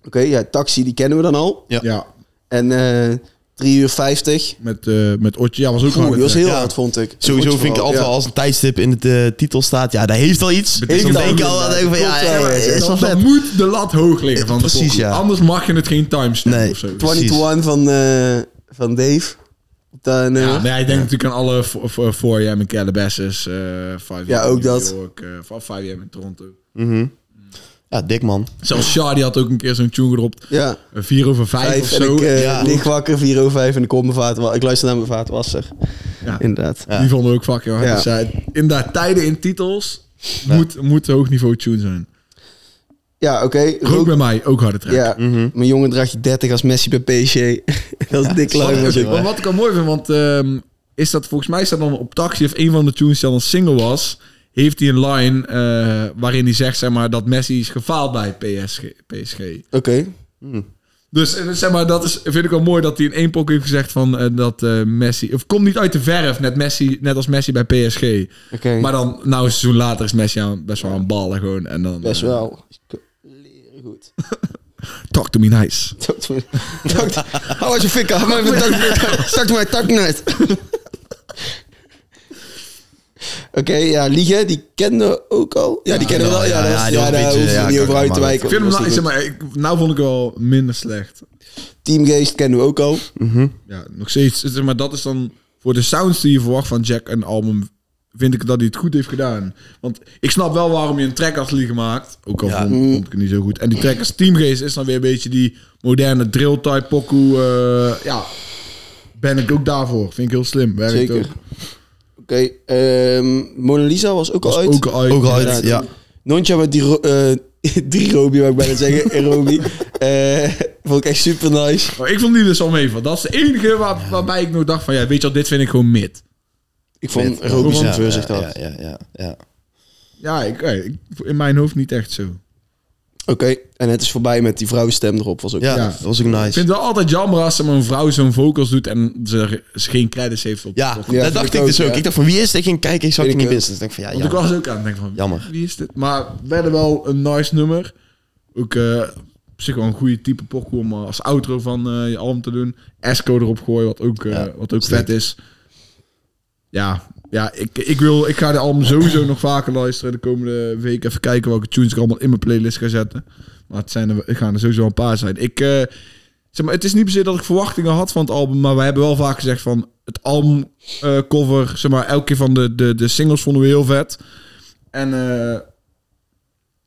Oké, ja, taxi, die kennen we dan al.
Ja.
Ja,
En eh 3 uur 50.
met, eh, met Otje. Ja, was ook
Oeh,
hard,
die was
hè.
heel
Ja.
hard, vond ik.
Sowieso
Vond
vind ik
vooral,
altijd
ja.
als een tijdstip in de eh, titel staat. Ja, dat heeft al iets.
Betekent
Dan
al
denk ik
iets,
al
ja.
eh,
dat ik van, ja,
Klopt, ja,
ja,
ja.
Eh, is wel
Dan,
vet.
dan moet de lat hoog liggen van de
Precies,
pokoe.
ja.
Anders mag je het geen timestamp
Nee.
of zo.
21 van, eh, van Dave. Dan, eh,
Ja, maar hij denkt natuurlijk aan alle voor- voor- 4AM in Calabasas, eh 5AM
Ja, ook
in New
dat.
York, eh, van 5AM in Toronto.
Ja, dik man.
Zelfs Shadi had ook een keer zo'n tune gedropt,
ja.
4 over 5 of
Vijf en
zo.
ik eh,
Ja.
lig wakker, 4 over 5 en ik kom mijn vaat. Ik luister naar mijn vaatwasser.
Ja.
Inderdaad.
Die vonden we ook fucking hard.
Ja.
Dus hij- inderdaad, tijden in titels moet, moet hoog niveau tune zijn.
Ja, oké.
Rook
Rook-
bij mij, ook harde track.
Ja, mijn jongen draagt je 30 als Messi bij PSG. dat is dik
Wat,
lang.
maar wat ik al mooi vind, want ehm, is dat volgens mij staat dan op Taxi of een van de tunes die dan een single was, heeft hij een line eh, waarin hij zegt zeg maar, dat Messi is gefaald bij PSG. PSG.
Oké.
Dus eh, zeg maar, dat is, vind ik wel mooi dat hij in één pok heeft gezegd van eh, dat eh, Messi... Of komt niet uit de verf, net, Messi, net als Messi bij PSG.
Oké.
Maar dan, nou een seizoen later is Messi aan, best wel aan ballen gewoon. En dan,
Best
eh,
wel. Leren goed.
talk to me nice.
Talk to me. Talk to- Hou als je fik af. Maar even talk Talk to my talk night. Oké, ja, Liege, die kennen we ook al. Ja, die kennen we wel.
ja,
Ja, dat
ja,
was-
die
ja,
was een
daar
beetje-
hoeven
ja,
we niet
kan
over uit te
maar.
wijken.
Ik vind hem,
Dat
nou,
was
zeg
niet
maar, ik- nou vond ik hem wel minder slecht.
goed. Teamgeest kennen we ook al.
Ja, nog steeds. Zeg maar dat is dan voor de sounds die je verwacht van Jack en album. Vind ik dat hij het goed heeft gedaan. Want ik snap wel waarom je een track als Lee gemaakt. Ook al vond, vond ik het niet zo goed. En die track als Teamgeest is dan weer een beetje die moderne drill type pokoe. eh, ja, ben ik ook daarvoor. Vind ik heel slim. Werkt
Zeker.
ook.
Oké, ehm, Mona Lisa was ook
Was
al uit.
ook al uit.
Ook al uit,
inderdaad.
ja.
Nontja met die, ro- eh, die Robi, wou ik bijna zeggen. en Robi. Eh, vond ik echt super nice.
Maar ik vond die dus al mee van. Dat is de enige waar- waarbij ik nog dacht van... Ja, weet je wel, dit vind ik gewoon mid.
Ik vond
Vet.
Robi's
Ja,
verzicht
ja,
dat.
Ja, ja, ja, ja.
Ja, ik, eh, ik- in mijn hoofd niet echt zo.
Oké, en het is voorbij met die vrouwenstem erop. Was ook
Ja,
Ja.
dat was ook
Ik
nice.
vind het wel altijd jammer als er maar een vrouw zo'n vocals doet... en ze, ze geen credits heeft op
Ja,
op-
vind
dat
ik
dacht ik
ook,
dus ook.
ja.
Ik dacht van wie is dit? Ik ging kijken, ik zag
Weet
het niet
ik ook.
wist. Dus ik dacht van ja,
Want
ja.
ik was ook aan het denken van,
Jammer.
wie is dit? Maar werden wel een nice nummer. Ook eh, op zich wel een goede type pokoe om eh, als outro van eh, je album te doen. Esco erop gooien, wat ook, eh,
Ja,
wat ook
zeker.
vet is. ja, ja ik, ik, wil, ik ga de album sowieso nog vaker luisteren de komende week. Even kijken welke tunes ik allemaal in mijn playlist ga zetten. Maar het, zijn er, er gaan er sowieso een paar zijn. Ik, eh, zeg maar, het is niet per se dat ik verwachtingen had van het album. Maar we hebben wel vaak gezegd van het albumcover. cover zeg maar, elke keer van de, de, de singles vonden we heel vet. En eh,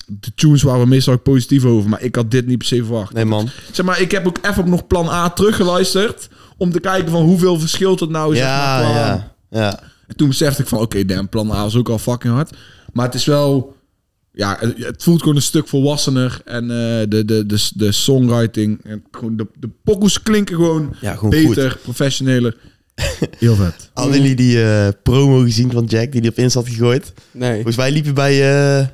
de tunes waren we meestal ook positief over. Maar ik had dit niet per se verwacht.
Nee, man.
Zeg maar, ik heb ook even nog plan A teruggeluisterd. Om te kijken van hoeveel verschilt het nou. zeg maar,
Ja,
qua-
ja, ja.
En toen besefte ik van, oké, damn, plan A is ook al fucking hard. Maar het is wel... Ja, het het voelt gewoon een stuk volwassener. En eh, de, de, de, de songwriting... En gewoon de, de pokoes klinken gewoon,
Ja, gewoon
beter, professioneler. Heel vet.
Mm.
Hadden jullie die eh, promo gezien van Jack die die op Insta had gegooid?
Nee.
Volgens mij liep hij bij, eh,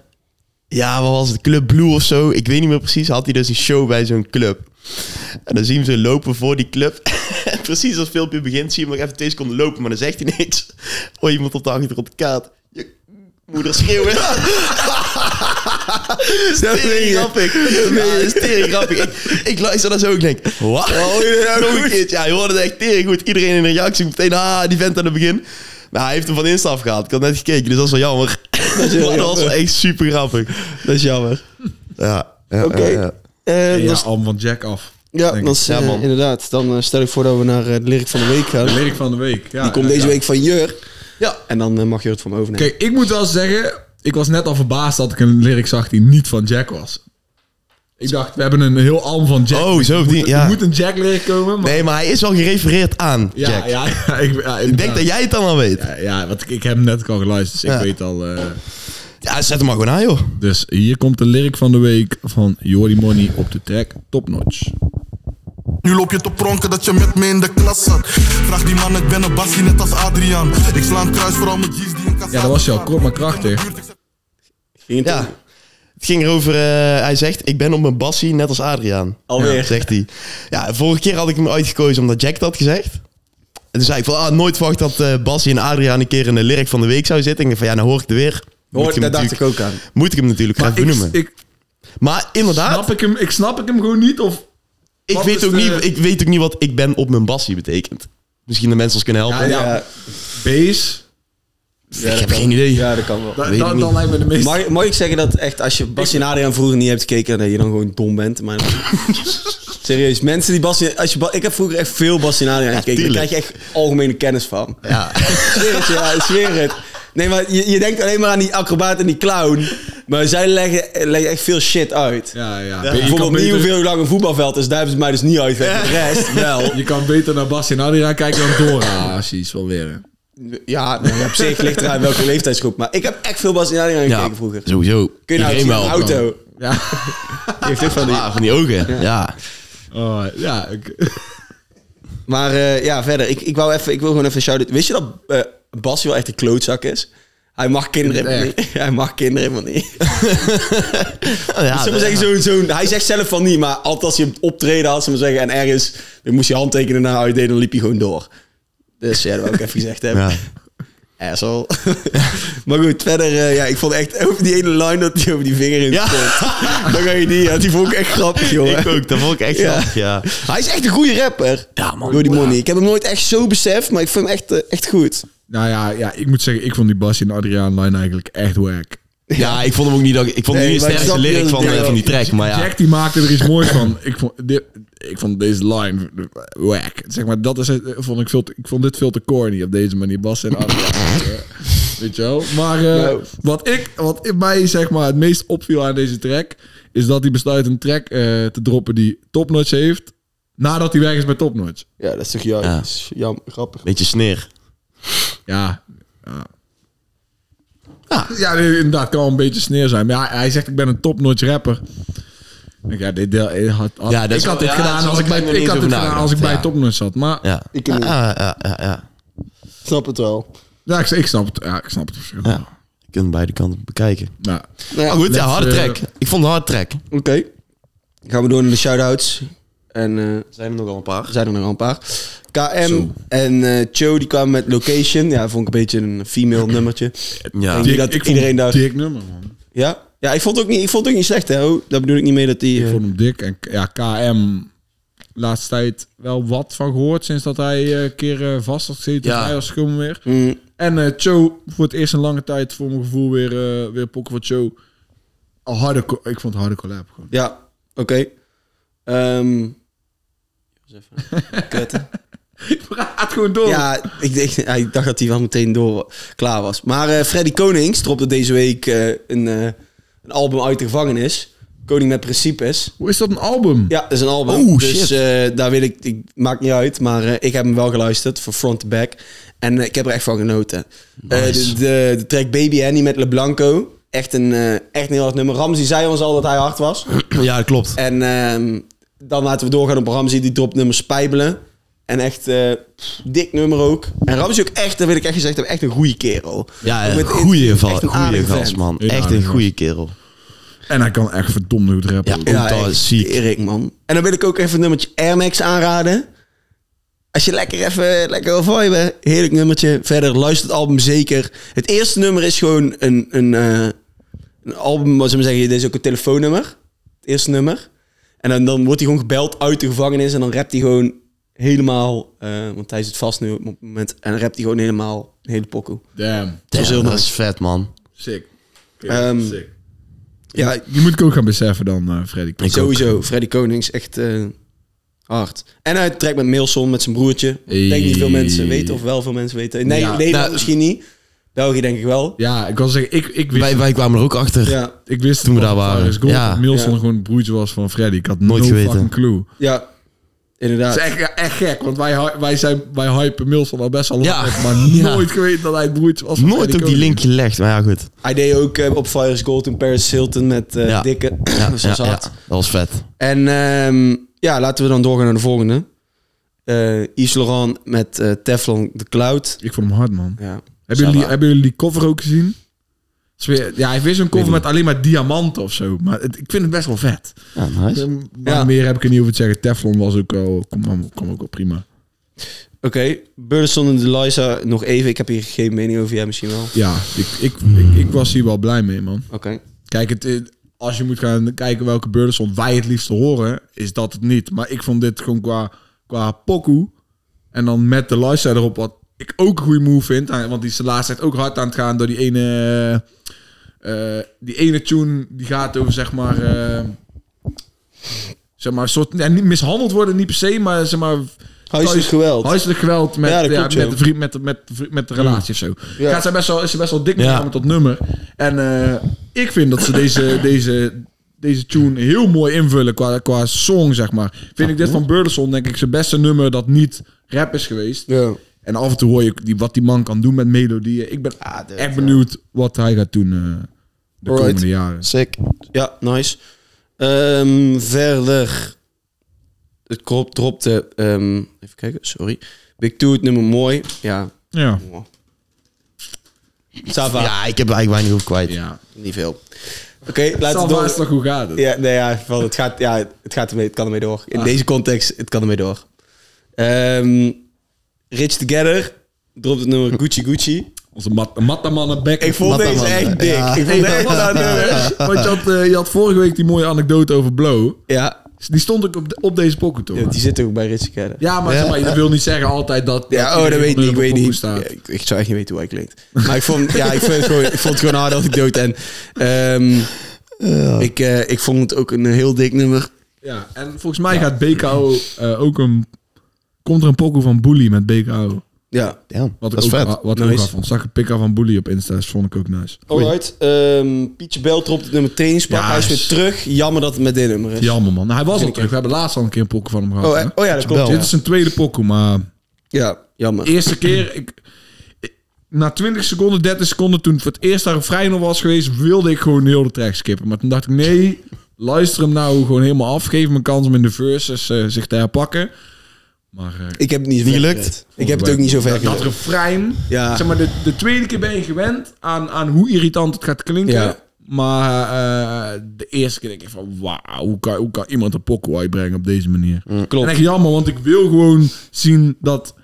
ja, wat was het, Club Blue of zo. Ik weet niet meer precies. Had hij dus een show bij zo'n club. En dan zien we ze lopen voor die club. En precies als het filmpje begint, zie je hem nog even twee seconden lopen. Maar dan zegt hij niks. Oh, iemand op de achtergrond de kaart. Je moeder schreeuwen. dat is tering grappig. Ja, dat is tering grappig. Ik, ik luister daar zo en ik denk, wat? Nog een keertje. Ja, je hoorde het echt tering goed. Iedereen in de reactie meteen, ah, die vent aan het begin. Maar hij heeft hem van Insta afgehaald. Ik had net gekeken, dus dat is wel jammer. Dat,
heel
was wel
jammer.
echt super grappig.
Dat is jammer.
Ja. ja,
Oké.
ja, ja.
Eh,
ja,
dat is-
album van Jack af.
Ja,
denk
dat
ik.
is,
Ja,
eh,
man.
inderdaad. Dan eh, stel ik voor dat we naar eh, de lyric van de week gaan.
De lyric van de week. Ja,
Die komt deze week van Jur.
Ja.
En dan eh, mag Jur het van me overnemen.
Kijk, ik moet wel zeggen... Ik was net al verbaasd dat ik een lyric zag die niet van Jack was. Ik dacht, we hebben een heel album van Jack.
Oh, zo. Die,
Er
ja.
moet een Jack lyric komen, maar...
Nee, maar hij is wel gerefereerd aan
ja,
Jack.
Ja, ja, ik, ja,
Ik denk dat jij het dan al weet.
Ja, ja want ik, ik heb hem net ook al geluisterd, dus ik
Ja.
weet al. eh.
Ja, zet hem maar gewoon aan, joh.
dus hier komt de lyric van de week van Jordi Money op de track Top Notch.
Nu loop je te pronken dat je met me in de klas zat. Vraag die man, ik ben een bassie net als Adriaan. Ik sla een kruis voor al mijn G's die in kassa
Ja, dat was je al, kort maar krachtig.
Ging het
Ja. Het ging erover, eh, hij zegt, ik ben op mijn bassie net als Adriaan.
Alweer.
Ja, zegt hij. Ja, vorige keer had ik hem uitgekozen omdat Jack dat had gezegd. En toen zei ik van, ah, nooit verwacht dat eh Bassie en Adriaan een keer in de lyric van de week zou zitten. En ik dacht van, ja, nou hoor ik het weer. Moet
Hoor,
hem
daar dacht ik
natuurlijk-
ook aan.
Moet ik hem natuurlijk gaan
ik,
benoemen.
ik,
maar inderdaad,
snap ik, hem, ik snap ik hem gewoon niet. Of,
ik
wat
weet,
is
ook
de-
niet, ik weet ook niet wat ik ben op mijn bassie betekent. Misschien de mensen ons kunnen helpen.
ja, ja,
Ja.
Base.
ik heb geen idee.
Ja, dat kan wel.
Da,
Weet ik
da,
niet.
dan lijkt me de meeste.
Mag, mag ik zeggen dat echt als je Bassie en Adriaan vroeger niet hebt gekeken, dat je dan gewoon dom bent? Maar serieus, mensen die Bassie... Als je, Ba- ik heb vroeger echt veel Bassie en Adriaan gekeken. Daar
tuurlijk.
krijg je echt algemene kennis van.
Ja.
Ik zweer het, ja, ik zweer het. Nee, maar je, je denkt alleen maar aan die acrobaat en die clown. Maar zij leggen, leggen echt veel shit uit.
Ja, ja. Je, kan
Bijvoorbeeld niet
beter,
hoeveel lang een voetbalveld is. Daar hebben ze mij dus niet uitgelegd. De rest wel.
je kan beter naar Bas en Adriaan kijken dan Dora. Als je iets wil leren.
Ja, nou ja, op zich ligt eraan welke leeftijdsgroep. Maar ik heb echt veel Bassie en Adriaan gekeken vroeger.
Sowieso.
Kun je nou
Iedereen
zien aan een
wel.
auto?
Ja,
Die heeft dit van
Ah.
die...
Ja, van die ogen. Ja.
oh, ja ik,
Maar eh, ja, verder. Ik, ik, wou even, ik wil gewoon even een shout-out. Wist je dat eh, Bas wel echt een klootzak is? Hij mag kinderen helemaal
Echt?
niet. Hij mag kinderen helemaal niet.
Ja,
Zullen we
dat-
zeggen, zo'n zo'n- hij zegt zelf van niet, maar altijd als hij een optreden had, zullen we zeggen, en ergens, dan moest hij handtekenen naar hij deed, dan liep hij gewoon door. Dus ja, dat wil ik even gezegd hebben.
Ja.
Asshole. maar goed, verder, eh, ja, ik vond echt over die ene line dat hij over die vinger in
Ja.
stond. Dan ga je die, ja, die vond ik echt grappig, jongen.
Ik ook, dat vond ik echt
Ja.
grappig, ja.
Hij is echt een goede rapper.
Ja, man.
Door die money. Ik heb hem nooit echt zo beseft, maar ik vind hem echt, eh, echt goed.
nou ja, ja, ik moet zeggen, ik vond die Bas en Adriaan line eigenlijk echt wack.
Ja, ik vond hem ook niet... dat- Ik vond hem
Nee,
niet de
maar ik
sterkste
snap
lyric
je-
van,
ja,
eh, van die track, maar ja.
Jack die maakte er iets moois van. Ik vond, dit, ik vond deze line wack. Zeg maar, dat is het, eh, vond ik, veel te- ik vond dit veel te corny op deze manier. Bas en Adriaan. eh, Weet je wel? Maar eh,
Nou.
wat, ik, wat in mij zeg maar, het meest opviel aan deze track... is dat hij besluit een track eh, te droppen die Topnotch heeft... nadat hij weg is bij Topnotch.
Ja, dat is toch juist.
Ja.
Dat is jam, grappig.
Beetje sneer.
Ja. Ja, ja nee, inderdaad. Kan wel een beetje sneer zijn. Maar ja, hij zegt, ik ben een topnotch rapper. Ik denk, Ja, dit deel, ik had, had-
Ja, dat is
ik had
wel-
dit
ja,
gedaan
zo
als ik bij,
heb ik er niet
ik had
eens
dit
over
gedaan als ik bij
nagedacht,
topnotch zat. Maar ja.
Ja. Ah,
Ik ook.
Ja, ja, ja, ja.
Snap het wel.
ik, ik snap het. Ja, ik snap het. op zich wel.
ja. Je kunt beide kanten bekijken.
Ja.
Nou ja,
Maar goed, ja,
let's,
harde
eh,
track. Ik vond een harde track. Er
Oké. Dan Gaan we door naar de shout-outs. En eh,
zijn er nogal een paar.
er zijn er nog wel een paar. KM en eh Cho die kwamen met Location. Ja, vond ik een beetje een female nummertje.
Ja.
Ik denk dat
ik vond
iedereen daar...
hem dik nummer, man.
Ja? Ja, ik vond het ook niet, ik vond het ook niet slecht, hè. Ho. Daar bedoel ik niet mee dat die...
Ik
eh,
vond hem dik. En ja, KM... Laatste tijd wel wat van gehoord sinds dat hij eh, een keer eh, vast had gezeten.
Ja.
Hij was gewoon weer.
mm,
En eh Cho, voor het eerst in lange tijd, voor mijn gevoel, weer, eh, weer pokken voor Cho. Een harde, co- ik vond het harde collab gewoon.
Ja, oké. Ehm even kutten.
Praat gewoon door.
Ja, ik, denk- ja, ik dacht dat hij wel meteen door klaar was. Maar eh, Freddy Konings dropte deze week eh, een, eh, een album uit de gevangenis. Koning met principes.
Hoe is dat een album?
Ja, dat is een album.
Oh,
dus
shit.
eh, daar wil ik, ik... Maakt niet uit, maar eh, ik heb hem wel geluisterd. Van front to back. En eh, ik heb er echt van genoten. Eh, de, de, de track Baby Annie met LeBlanco. Echt een, eh, echt een heel hard nummer. Ramzi zei ons al dat hij hard was.
Ja, dat klopt.
En ehm, dan laten we doorgaan op Ramsey. Die dropt nummer Spijbelen. En echt eh, pff, dik nummer ook. En Ramsey ook echt, dat wil ik echt gezegd hebben, echt een goede kerel.
Ja,
Ook
een
met-
goeie,
echt
val,
een
goeie
aardige
gast,
vent.
man.
Ja,
echt een
aardige
goeie kerel.
En hij kan echt verdomd goed rappen.
Ja.
Ja,
Ook dat
echt
is ziek.
Erik, man. En dan wil ik ook even een nummertje Air Max aanraden. Als je lekker even lekker wil viben. Heerlijk nummertje. Verder luister het album zeker. Het eerste nummer is gewoon een, een, eh, een album, wat ze maar zeggen, dit is ook een telefoonnummer. Het eerste nummer. En dan, dan wordt hij gewoon gebeld uit de gevangenis en dan rapt hij gewoon helemaal, eh, want hij zit vast nu op het moment, en dan rapt hij gewoon helemaal een hele pokoe.
Damn.
Dat is,
heel
dat
nice.
is vet, man.
Sick.
Ehm,
sick.
Ja,
Die moet ik ook gaan beseffen dan, eh, Freddy.
Ik
Sowieso, Freddy Konings, echt eh, hard. En hij trekt met Mailson, met zijn broertje. Ik denk niet veel mensen weten, of wel veel mensen weten. Nee,
Ja.
Nederland
Nou,
misschien niet. België denk ik wel.
Ja, ik wil zeggen, ik, ik wist...
Wij, wij kwamen er ook achter.
Ja,
ik wist
toen we
dat
daar waren.
Cyrus Gold
Ja.
dat Milson
Ja.
gewoon een broertje was van Freddy. Ik had
Nooit
no
geweten.
fucking clue.
ja,
Dat
inderdaad.
is echt, echt gek, want wij, hy- wij, zijn, wij hypen Milson al best al
Ja.
lang, op, maar
Ja.
nooit geweten dat hij het broertje was van
Nooit
Freddy
ook die
Koning.
link gelegd, maar ja, goed.
Hij deed ook eh, op Fires Gold toen Paris Hilton met eh,
Ja.
Dikke.
Ja,
dus
ja,
dat is
ja.
hard.
dat was vet.
En ehm, ja, laten we dan doorgaan naar de volgende. Eh Yves Laurent met eh, Teflon The Cloud.
Ik vond hem hard, man.
Ja,
Hebben
Sarah.
jullie, hebben jullie die cover ook gezien? Het is weer- Ja, hij heeft weer zo'n cover met alleen maar diamanten of zo. Maar het- ik vind het best wel vet.
Ja, nice.
Maar
Ja.
meer heb ik er niet over te zeggen. Teflon was ook al... Kom, kom ook wel prima.
Oké, Burleson en Deliza nog even. Ik heb hier geen mening over, jij misschien wel.
Ja, ik, ik, ik, ik was hier wel blij mee, man.
Oké.
Kijk, het, eh, als je moet gaan kijken welke Burleson wij het liefst horen, is dat het niet. Maar ik vond dit gewoon qua, qua pokoe. En dan met de lifestyle erop, wat ik ook een goede move vind. eh, Want die is de laatste tijd ook hard aan het gaan door die ene... eh, die ene tune, die gaat over, zeg maar... eh, zeg maar, een soort... Ja, niet mishandeld worden, niet per se, maar zeg maar...
Huiselijk
thuis-
geweld.
Huiselijk geweld met,
Ja,
ja,
dat klopt,
met,
joh.
de vriend, met, de- met, de vriend- met de relatie of zo.
Ja.
Gaat zij best wel, is ze best wel dik
Ja.
met dat nummer. En eh, ik vind dat ze deze, deze, deze tune heel mooi invullen qua, qua song, zeg maar. Vind ik dit van Burleson, denk ik, zijn beste nummer dat niet rap is geweest.
Ja.
En af en toe hoor je die, wat die man kan doen met melodieën. Ik ben echt benieuwd wat hij gaat doen eh, de
Ah, Alright.
komende jaren.
Sick.
Ja, nice. Ehm, verder. Het krop dropte. ehm, even kijken, sorry. Big Two, het nummer mooi. Ja.
Ja.
Sava.
Ja, ik heb er eigenlijk weinig over kwijt.
ja.
Niet veel. Oké, laten we
Zal maar eens
door.
nog hoe gaat het?
Ja, nee, ja, van, het, gaat, ja het, gaat ermee, het kan ermee door.
Ah.
In deze context, het kan ermee door. Ehm, Rich Together dropt het nummer Gucci Gucci.
Onze mat mattamannen bek.
Ik vond
Wat
deze
dan, man?
echt dik.
Ja.
Ik vond echt dat nummer.
Want je had, eh, je had vorige week die mooie anekdote over Blow.
Ja,
Die stond ook op, de- op deze pocket, toch?
ja, die zit ook bij Rich Together.
Ja, maar, zeg maar dat wil niet zeggen altijd dat...
Ja, oh, dat weet ik niet. Ik weet niet. Ja,
Staat.
ik, ik zou echt niet weten hoe hij klinkt. Maar ik vond, ja, ik vond het gewoon, ik vond het gewoon hard dat ik dood en ehm, ik, eh, ik vond het ook een heel dik nummer.
Ja, en volgens mij gaat BKO eh, ook een... Komt er een pokoe van Bully met BKO.
Ja.
Damn,
Wat
dat is
ik ook,
vet.
Wat ik
Nice.
ook af vond. Zag ik pick van Bully op Insta, dus vond ik ook nice.
Alright. ehm Pietje Bel dropt het nummer trainingspak.
Ja,
hij is weer
is-
terug. Jammer dat het met dit nummer is.
Jammer, man. Nou, hij was al terug. We hebben laatst al een keer een pokoe van hem gehad.
Oh, eh,
hè?
oh ja, dat klopt.
Bel.
ja.
Dit is zijn tweede pokoe, maar...
Ja, jammer.
Eerste keer... Ik, ik- na 20 seconden, 30 seconden, toen het voor het eerst daar een vrij nog was geweest, wilde ik gewoon heel de track skippen. Maar toen dacht ik, nee, luister hem nou gewoon helemaal af. Geef hem een kans om in de verses eh, zich te herpakken. Maar eh,
Ik heb het niet,
Niet
ver
gelukt?
gered. Ik heb het ook niet zo ver
Dat, dat
gered.
refrein.
Ja.
Zeg maar, de, de tweede keer ben je gewend aan, aan hoe irritant het gaat klinken.
Ja.
Maar eh, de eerste keer denk ik van... Wauw, hoe kan, hoe kan iemand een pokoe uitbrengen op deze manier?
Mm, klopt.
En echt jammer, want ik wil gewoon zien dat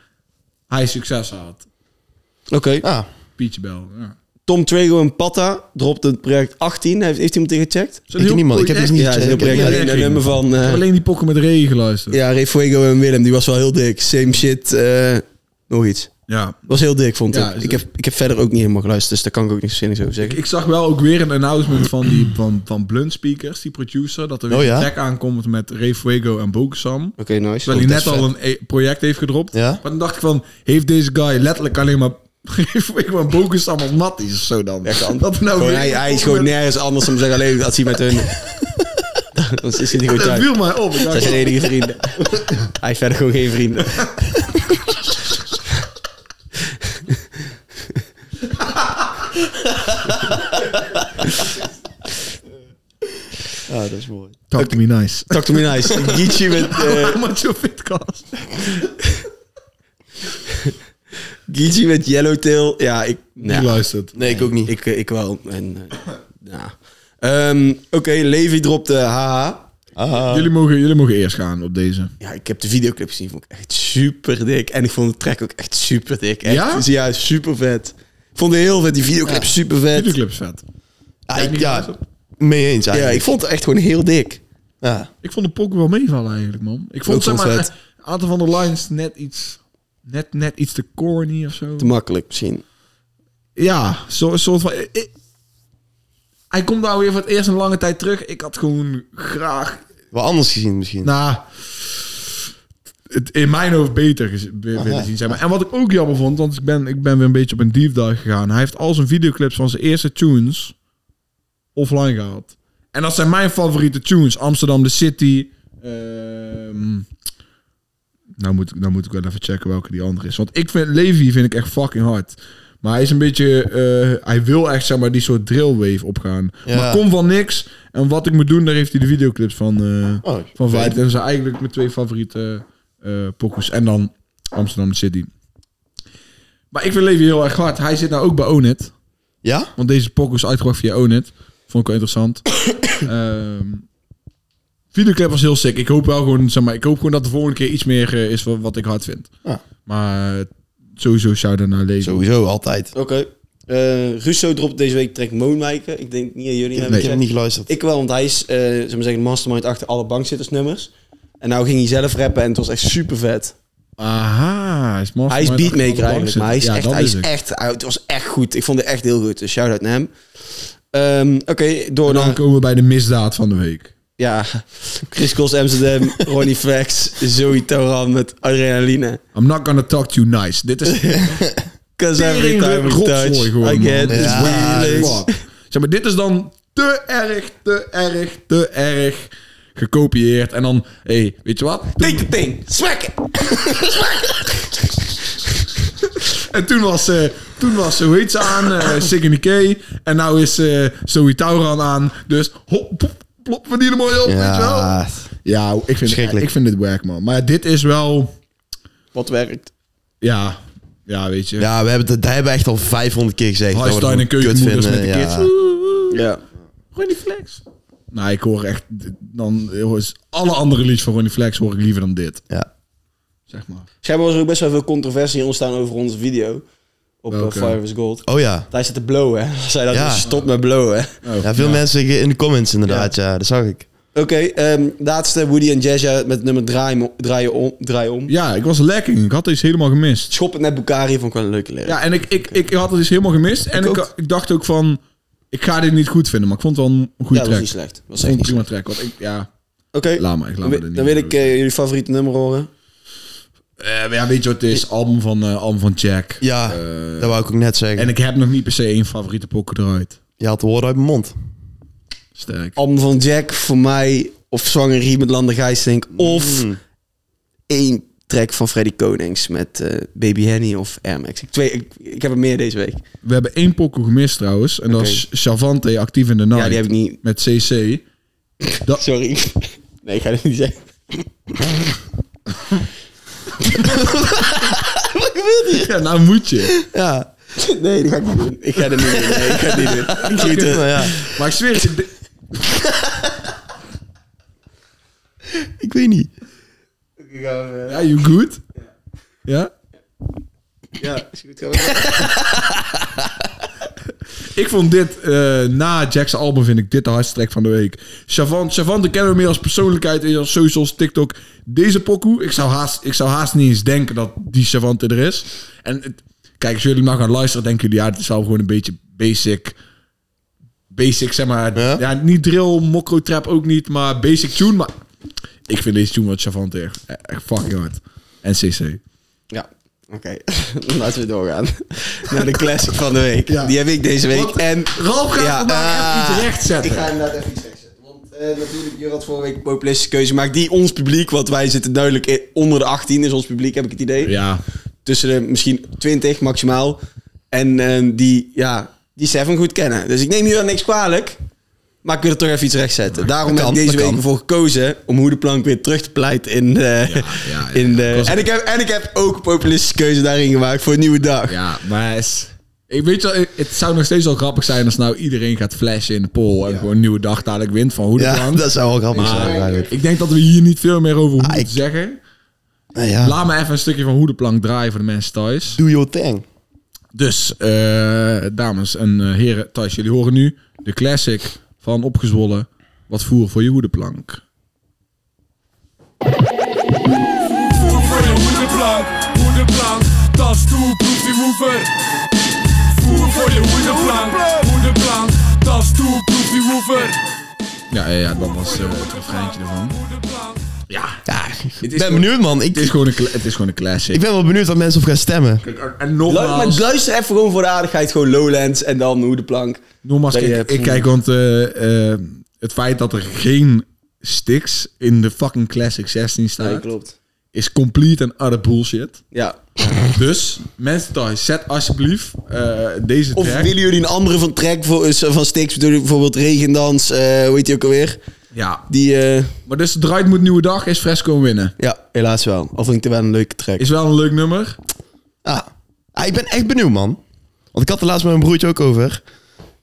hij succes had.
Oké.
Ja,
Peach Bell. Ja.
Tom Trago en Patta dropt het project 18. Heeft, heeft iemand tegen gecheckt?
Zo'n
Ik
heel
niemand, ik heb
goeie-
dus niet-
Ja, dat is een eh, heel
Ik heb
project.
niet
Alleen dat
gecheckt.
nummer
Ik
van... eh,
heb alleen die pokken met regen geluisterd.
ja, Ray Fuego en Willem. Die was wel heel dik. Same shit. eh, nog iets.
Ja.
Was heel dik, vond
Ja,
ik.
is
Ik
het-
heb, ik heb verder ook niet helemaal geluisterd, dus daar kan ik ook niks zinnigs over zeggen.
Ik zag wel ook weer een announcement van, die, van, van Blunt Speakers, die producer, dat er weer
Oh, ja?
een track aankomt met Ray Fuego en Bokusam.
Oké, nice.
Terwijl hij net
dat is
al een e- project heeft gedropt.
Ja?
Maar dan dacht ik van, heeft deze guy letterlijk alleen maar Ray Fuego en Bokusam als matties of zo dan?
kan.
Dat er nou
Gewoon,
weer-
hij, hij is gewoon nergens anders om te zeggen, alleen dat hij met hun... Dan is hij niet goed
Dat
thuis.
viel mij op. Ik dacht, "Oh,
Dat zijn enige vrienden. Hij heeft verder gewoon geen vrienden.
Ah, dat is mooi.
talk to me nice.
Talk to me nice. Geechie met, eh
Macho Fitcast.
Geechee met Yellowtail. Ja, ik...
Die
Nou,
luistert.
Nee, ik ook niet.
ik, eh, ik wel. En, eh, ja. Ehm, Oké, Levi dropte haha.
Ah,
Jullie mogen, jullie mogen eerst gaan op deze.
Ja, ik heb de videoclip gezien, vond ik echt super dik. En ik vond de track ook echt super dik. Echt,
Ja?
ja? super vet. Ik vond het heel vet, die videoclip super vet.
Videoclip is vet.
ah, ik- ja, mee eens
Ja,
eigenlijk.
ik vond het echt gewoon heel dik.
Ja.
Ik vond de pok wel meevallen eigenlijk, man. Ik vond
Ook
zeg
wel
maar,
vet.
een aantal van de lines net iets, net, net iets te corny of zo.
Te makkelijk misschien.
Ja, zo, een soort van... ik- ik- hij komt nou weer voor het eerst een lange tijd terug. Ik had gewoon graag...
Wel anders gezien misschien.
Nou, het in mijn hoofd beter gez- be- willen zien, zeg maar. En wat ik ook jammer vond, want ik ben, ik ben weer een beetje op een deep dive gegaan. Hij heeft al zijn videoclips van zijn eerste tunes offline gehaald. En dat zijn mijn favoriete tunes. Amsterdam The City. ehm, nou, moet, ik- nou moet ik wel even checken welke die andere is. Want ik vind Levi vind ik echt fucking hard. Maar hij is een beetje... eh, hij wil echt, zeg maar, die soort drillwave opgaan.
Ja.
Maar kom van niks. En wat ik moet doen, daar heeft hij de videoclips van... eh,
Oh,
van Vijf. En dat zijn eigenlijk mijn twee favoriete eh pokus. En dan Amsterdam City. Maar ik vind Levi heel erg hard. Hij zit nou ook bij Onit.
Ja?
Want deze pokus uitgebracht via Onit. Vond ik wel interessant. Ehm videoclip was heel sick. Ik hoop wel gewoon, zeg maar, ik hoop gewoon dat de volgende keer iets meer eh, is wat, wat ik hard vind.
Ja.
Maar eh, sowieso nou shout out naar Levi.
Sowieso, altijd.
Oké. Eh, Russo dropt deze week track Moonmaker. Ik denk niet aan jullie. hebben
Nee.
Ik heb
gecheckt.
niet geluisterd.
Ik wel, want hij is, eh zullen we zeggen, de mastermind achter alle bankzittersnummers. En nou ging hij zelf rappen en het was echt super vet.
Aha, hij is,
Hij is
mastermind achter
beatmaker
de bank
eigenlijk,
zitten.
maar hij is
Ja,
echt,
dat
hij is
het.
echt, hij- het was echt goed. Ik vond het echt heel goed, dus shout-out naar hem. Ehm, Oké, door
En
naar,
dan komen we bij de misdaad van de week.
ja, Chris Cross Amsterdam, Ronnie Flex, Zoe Toran met Adrenaline.
I'm not gonna talk to you nice. Dit is
Cause every
Tering
time
de
we
rotzooi
touch,
gewoon,
I
man.
get
Dit is
this
waar,
feeling.
fuck. Zeg maar, dit is dan te erg, te erg, te erg gekopieerd. En dan, hé, hey, weet je wat?
Take the thing, smack it.
En toen was, eh, toen was hoe heet ze aan? eh Signe K. En nou is eh Zoe Tauran aan. Dus hop, plop, plop, we die er mooi op, weet je wel? Ja, ik vind,
Schrikkelijk.
ik vind dit werk, man. Maar dit is wel,
Wat werkt?
ja, ja weet je.
Ja, we hebben het, dat hebben we echt al 500 keer gezegd. dat we het
Huistuin en
gewoon kut
keukenmoeders met de
vinden, ja.
kids. Oeh.
Ja.
Ronnie Flex. Nou, ik hoor echt... Dan, jongens, alle andere liedjes van Ronnie Flex hoor ik liever dan dit.
Ja.
Zeg maar.
Schijnbaar was er ook best wel veel controversie ontstaan over onze video. Op eh,
Welke?
Fire is Gold.
Oh ja.
Hij zit te blowen. Hij zei dat
Ja.
stop met blowen.
ja veel mensen ge- in de comments inderdaad, ja. Dat zag ik.
Oké, ehm, laatste Woody en Jazza met het nummer draai, Mo- draai om. Draai om.
Ja, ik was lekking. Ik had iets helemaal gemist.
Schop het net Bukari vond ik wel een leuke leer.
Ja, en ik, ik, ik had het iets helemaal gemist. En ik,
ook.
ik, dacht ook van... Ik ga dit niet goed vinden, maar ik vond het wel een goede
dat was
track.
niet slecht. Dat was
Ik vond
echt
het een
niet
prima
slecht.
track. Want ik, ja,
Oké,
laat maar. Ik laat me
dan, wi-
er niet
dan wil
meer
ik
over.
eh, jullie favoriete nummer horen.
Eh, ja, weet je wat het is? Album van, eh, album van Jack.
Ja,
Eh,
dat wou ik ook net zeggen.
en ik heb nog niet per se één favoriete pokken eruit.
Je had de woorden uit mijn mond.
Sterk.
Album van Jack voor mij. Of Zwanger Rie met Lander Gijsink. Of
Mm.
één track van Freddy Konings met eh, Baby Henny of Air Max. Ik, twee, ik, ik heb er meer deze week.
We hebben één pokken gemist trouwens. En dat
Oké.
is Chavante, Actief in de Night.
Ja, die heb ik niet.
Met CC. Dat,
Sorry. Nee, ik ga dit niet zeggen.
Ja, nou moet je.
Ja.
Nee, dat ga ik niet doen. Ik ga dit niet doen. Nee, ik ga dit niet doen. Ik schiet het.
Nou ja.
Maar ik zweer je, di-
Ik weet niet.
Ja, you good? Ja?
Ja, is goed.
Ik vond dit, eh, na Jack's album vind ik dit de hardste track van de week. Chavant, Chavant de kennen we meer als persoonlijkheid, in als socials, TikTok. Deze pokoe, ik zou, haast, ik zou haast niet eens denken dat die Chavant er is. En het- kijk, als jullie nou gaan luisteren, denken jullie, ja, het is wel gewoon een beetje basic... Basic, zeg maar. Ja,
Ja?
niet drill, mokro trap ook niet, maar basic tune. Maar ik vind deze tune wat Chavant echt, echt fucking hard. En CC.
Ja, oké. Laten we doorgaan naar de classic van de week.
Ja.
Die heb ik deze week.
Want
en
Ralf gaat vandaag
ah,
even iets rechtzetten.
Ik ga inderdaad even iets rechtzetten. Want eh, natuurlijk, je had vorige week een populistische keuze gemaakt. Die ons publiek, want wij zitten duidelijk in- onder de 18 is ons publiek, heb ik het idee.
Ja,
Tussen de misschien 20 maximaal. En eh, die, ja, die Seven goed kennen. Dus ik neem jullie wel niks kwalijk. Maar ik wil er toch even iets rechtzetten. Daarom
dat
heb ik
kan,
deze
dat
week
kan.
ervoor gekozen om hoe de plank weer terug te pleiten in de...
ja,
in de
ja. Ik was-
en, ik heb, en ik heb ook een populistische keuze daarin gemaakt voor een nieuwe dag.
Ja, maar is- ik weet wel, het zou nog steeds wel grappig zijn als nou iedereen gaat flashen in de poll en gewoon een nieuwe dag dadelijk wint van hoe de
Ja,
plank.
dat zou wel grappig
Maar
zijn. eigenlijk.
ik denk dat we hier niet veel meer over hoeven
Ah, ik-
te zeggen.
Nou ja,
Laat me even een stukje van hoe de plank draaien voor de mensen thuis.
do your thing.
Dus, eh, dames en eh, heren thuis, jullie horen nu de classic van Opgezwollen. Wat voer voor je hoedenplank?
Voer voor je hoedenplank, hoedenplank, tas toe, proef die woever. Voer voor je hoedenplank, hoedenplank, tas toe, proef die woever.
Ja, ja, ja, dat was eh, het refreintje ervan.
Hoedenplank.
Ja,
Ja, ik ben
gewoon-
benieuwd, man. Ik,
het is gewoon een, cla- het is gewoon een classic.
ik ben wel benieuwd wat mensen op gaan stemmen.
En
Lu-
nogmaals...
maar luister even gewoon voor de aardigheid. Gewoon Lowlands en dan hoe de plank.
Nogmaals,
Dat je
kijk,
hebt-
ik kijk, want eh, eh, het feit dat er geen sticks in de fucking Classic 16
Ja,
staat,
klopt.
is complete en utter bullshit.
Ja.
Dus, mensen thuis, zet alsjeblieft eh, deze
Of
track.
willen jullie een andere van track voor, eh, van Stix? Bedoel ik bijvoorbeeld Regendans, eh hoe heet die ook alweer?
Ja,
Die, eh,
maar dus het draait moet nieuwe dag, is Fresco winnen.
ja, helaas wel. Al vind ik het wel een leuke track.
Is wel een leuk nummer.
Ah. Ah, ik ben echt benieuwd, man. Want ik had er laatst met mijn broertje ook over.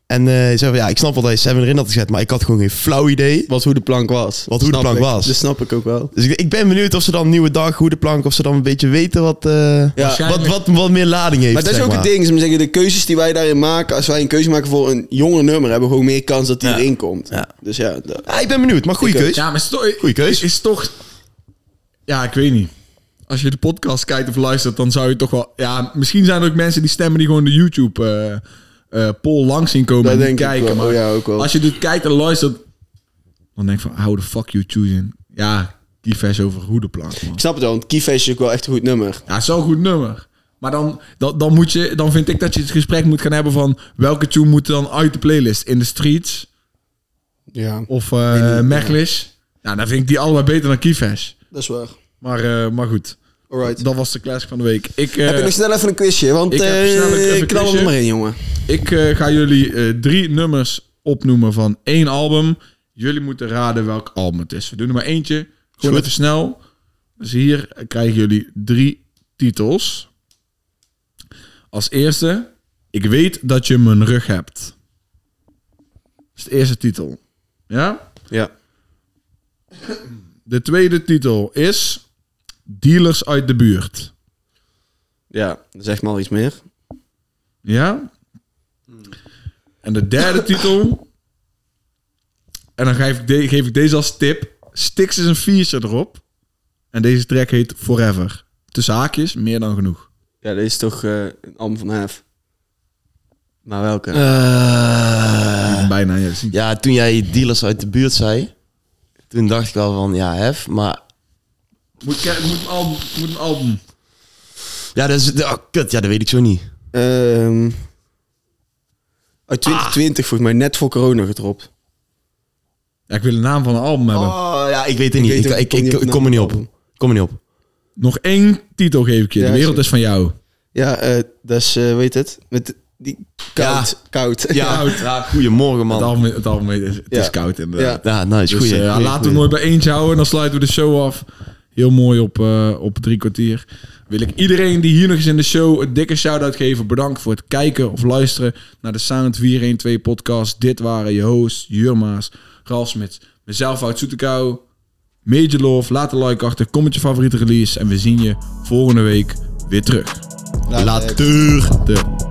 En eh, hij zei van, ja, ik snap wel dat je Seven erin had gezet, maar ik had gewoon geen flauw idee.
Wat hoe de plank was.
Wat hoe de
Snap
plank
ik.
was.
Dat snap ik ook wel.
Dus ik, ik ben benieuwd of ze dan Nieuwe Dag, Goede Plank, of ze dan een beetje weten wat, eh,
Ja.
wat, wat, wat meer lading heeft.
Maar dat is
zeg
ook het ding. Ze zeggen, de keuzes die wij daarin maken, als wij een keuze maken voor een jonger nummer, hebben we gewoon meer kans dat die erin komt.
Ja.
Dus ja, dat-
Ah, ik ben benieuwd, maar goede
Ik ook.
keus.
Ja, maar is toch...
Goeie keus.
Is, is toch... Ja, ik weet niet. Als je de podcast kijkt of luistert, dan zou je toch wel... Ja, misschien zijn er ook mensen die stemmen die gewoon de YouTube... eh, eh, poll langs zien komen
Dat
en die
denk ik
kijken.
wel.
Maar
Oh ja, ook wel.
als je dit kijkt en luistert, dan denk ik van, how the fuck you choosing? Ja, Kiefers over hoedenplank, man.
ik snap het wel. Want Keyface is ook wel echt een goed nummer.
Ja, zo'n goed nummer. Maar dan, dan, dan, moet je, dan vind ik dat je het gesprek moet gaan hebben van... welke tune moet dan uit de playlist? In de streets
Ja,
of eh Mechlis? Nou, dan vind ik die allebei beter dan Kiefers.
dat is waar.
Maar, eh, maar goed,
Alright.
dat was de classic van de week. Ik, eh,
heb je nog snel even een quizje? Want
ik
ik
heb snel even een
knal
quizje.
er maar in, jongen.
ik eh, ga jullie eh, drie nummers opnoemen van één album. Jullie moeten raden welk album het is. We doen er maar eentje. Gewoon even snel. Dus hier krijgen jullie drie titels. Als eerste, ik weet dat je mijn rug hebt. Dat is de eerste titel. Ja?
Ja.
De tweede titel is Dealers uit de buurt.
Ja, zeg maar al iets meer.
Ja. En de derde titel. En dan geef ik, de- geef ik deze als tip. Stix is een viertje erop. En deze track heet Forever. Tussen haakjes, meer dan genoeg.
Ja, dit is toch eh, een album van Hef. Maar welke?
Eh,
Bijna, ja. Zien.
ja, toen jij dealers uit de buurt zei, toen dacht ik wel van, ja, hef, maar...
Moet, ik- moet, een album, moet een album.
Ja, dat is... Oh, kut, ja, dat weet ik zo niet.
Ehm, uit 2020 volgens mij, net voor corona gedropt.
Ja, ik wil de naam van een album hebben.
Oh, ja, ik weet het nou- niet.
weet
Ik,
ook-
ik,
kom
ik,
niet op
ik kom er niet op. Ik kom er niet op.
Nog één titel geef ik je.
Ja,
de wereld
zeker.
is van jou.
Ja, eh, dat is, eh, weet het, met die koud. koud.
Ja,
Koud.
ja goedemorgen,
Het
man.
album, het album heet- het is
Ja.
koud inderdaad.
Oh. Ja, nice.
Dus
Goeie.
eh, ja,
goeie,
laten we
goeie.
nooit bij eentje houden. En dan sluiten we de show af. Heel mooi op, eh, op drie kwartier. Wil ik iedereen die hier nog eens in de show een dikke shout-out geven. Bedankt voor het kijken of luisteren naar de Sound 412 podcast. Dit waren je hosts, Jurma's, Ralf Smits, mezelf uit Zoetekau. Major Love, laat een like achter, comment je favoriete release. En we zien je volgende week weer terug.
Later.
De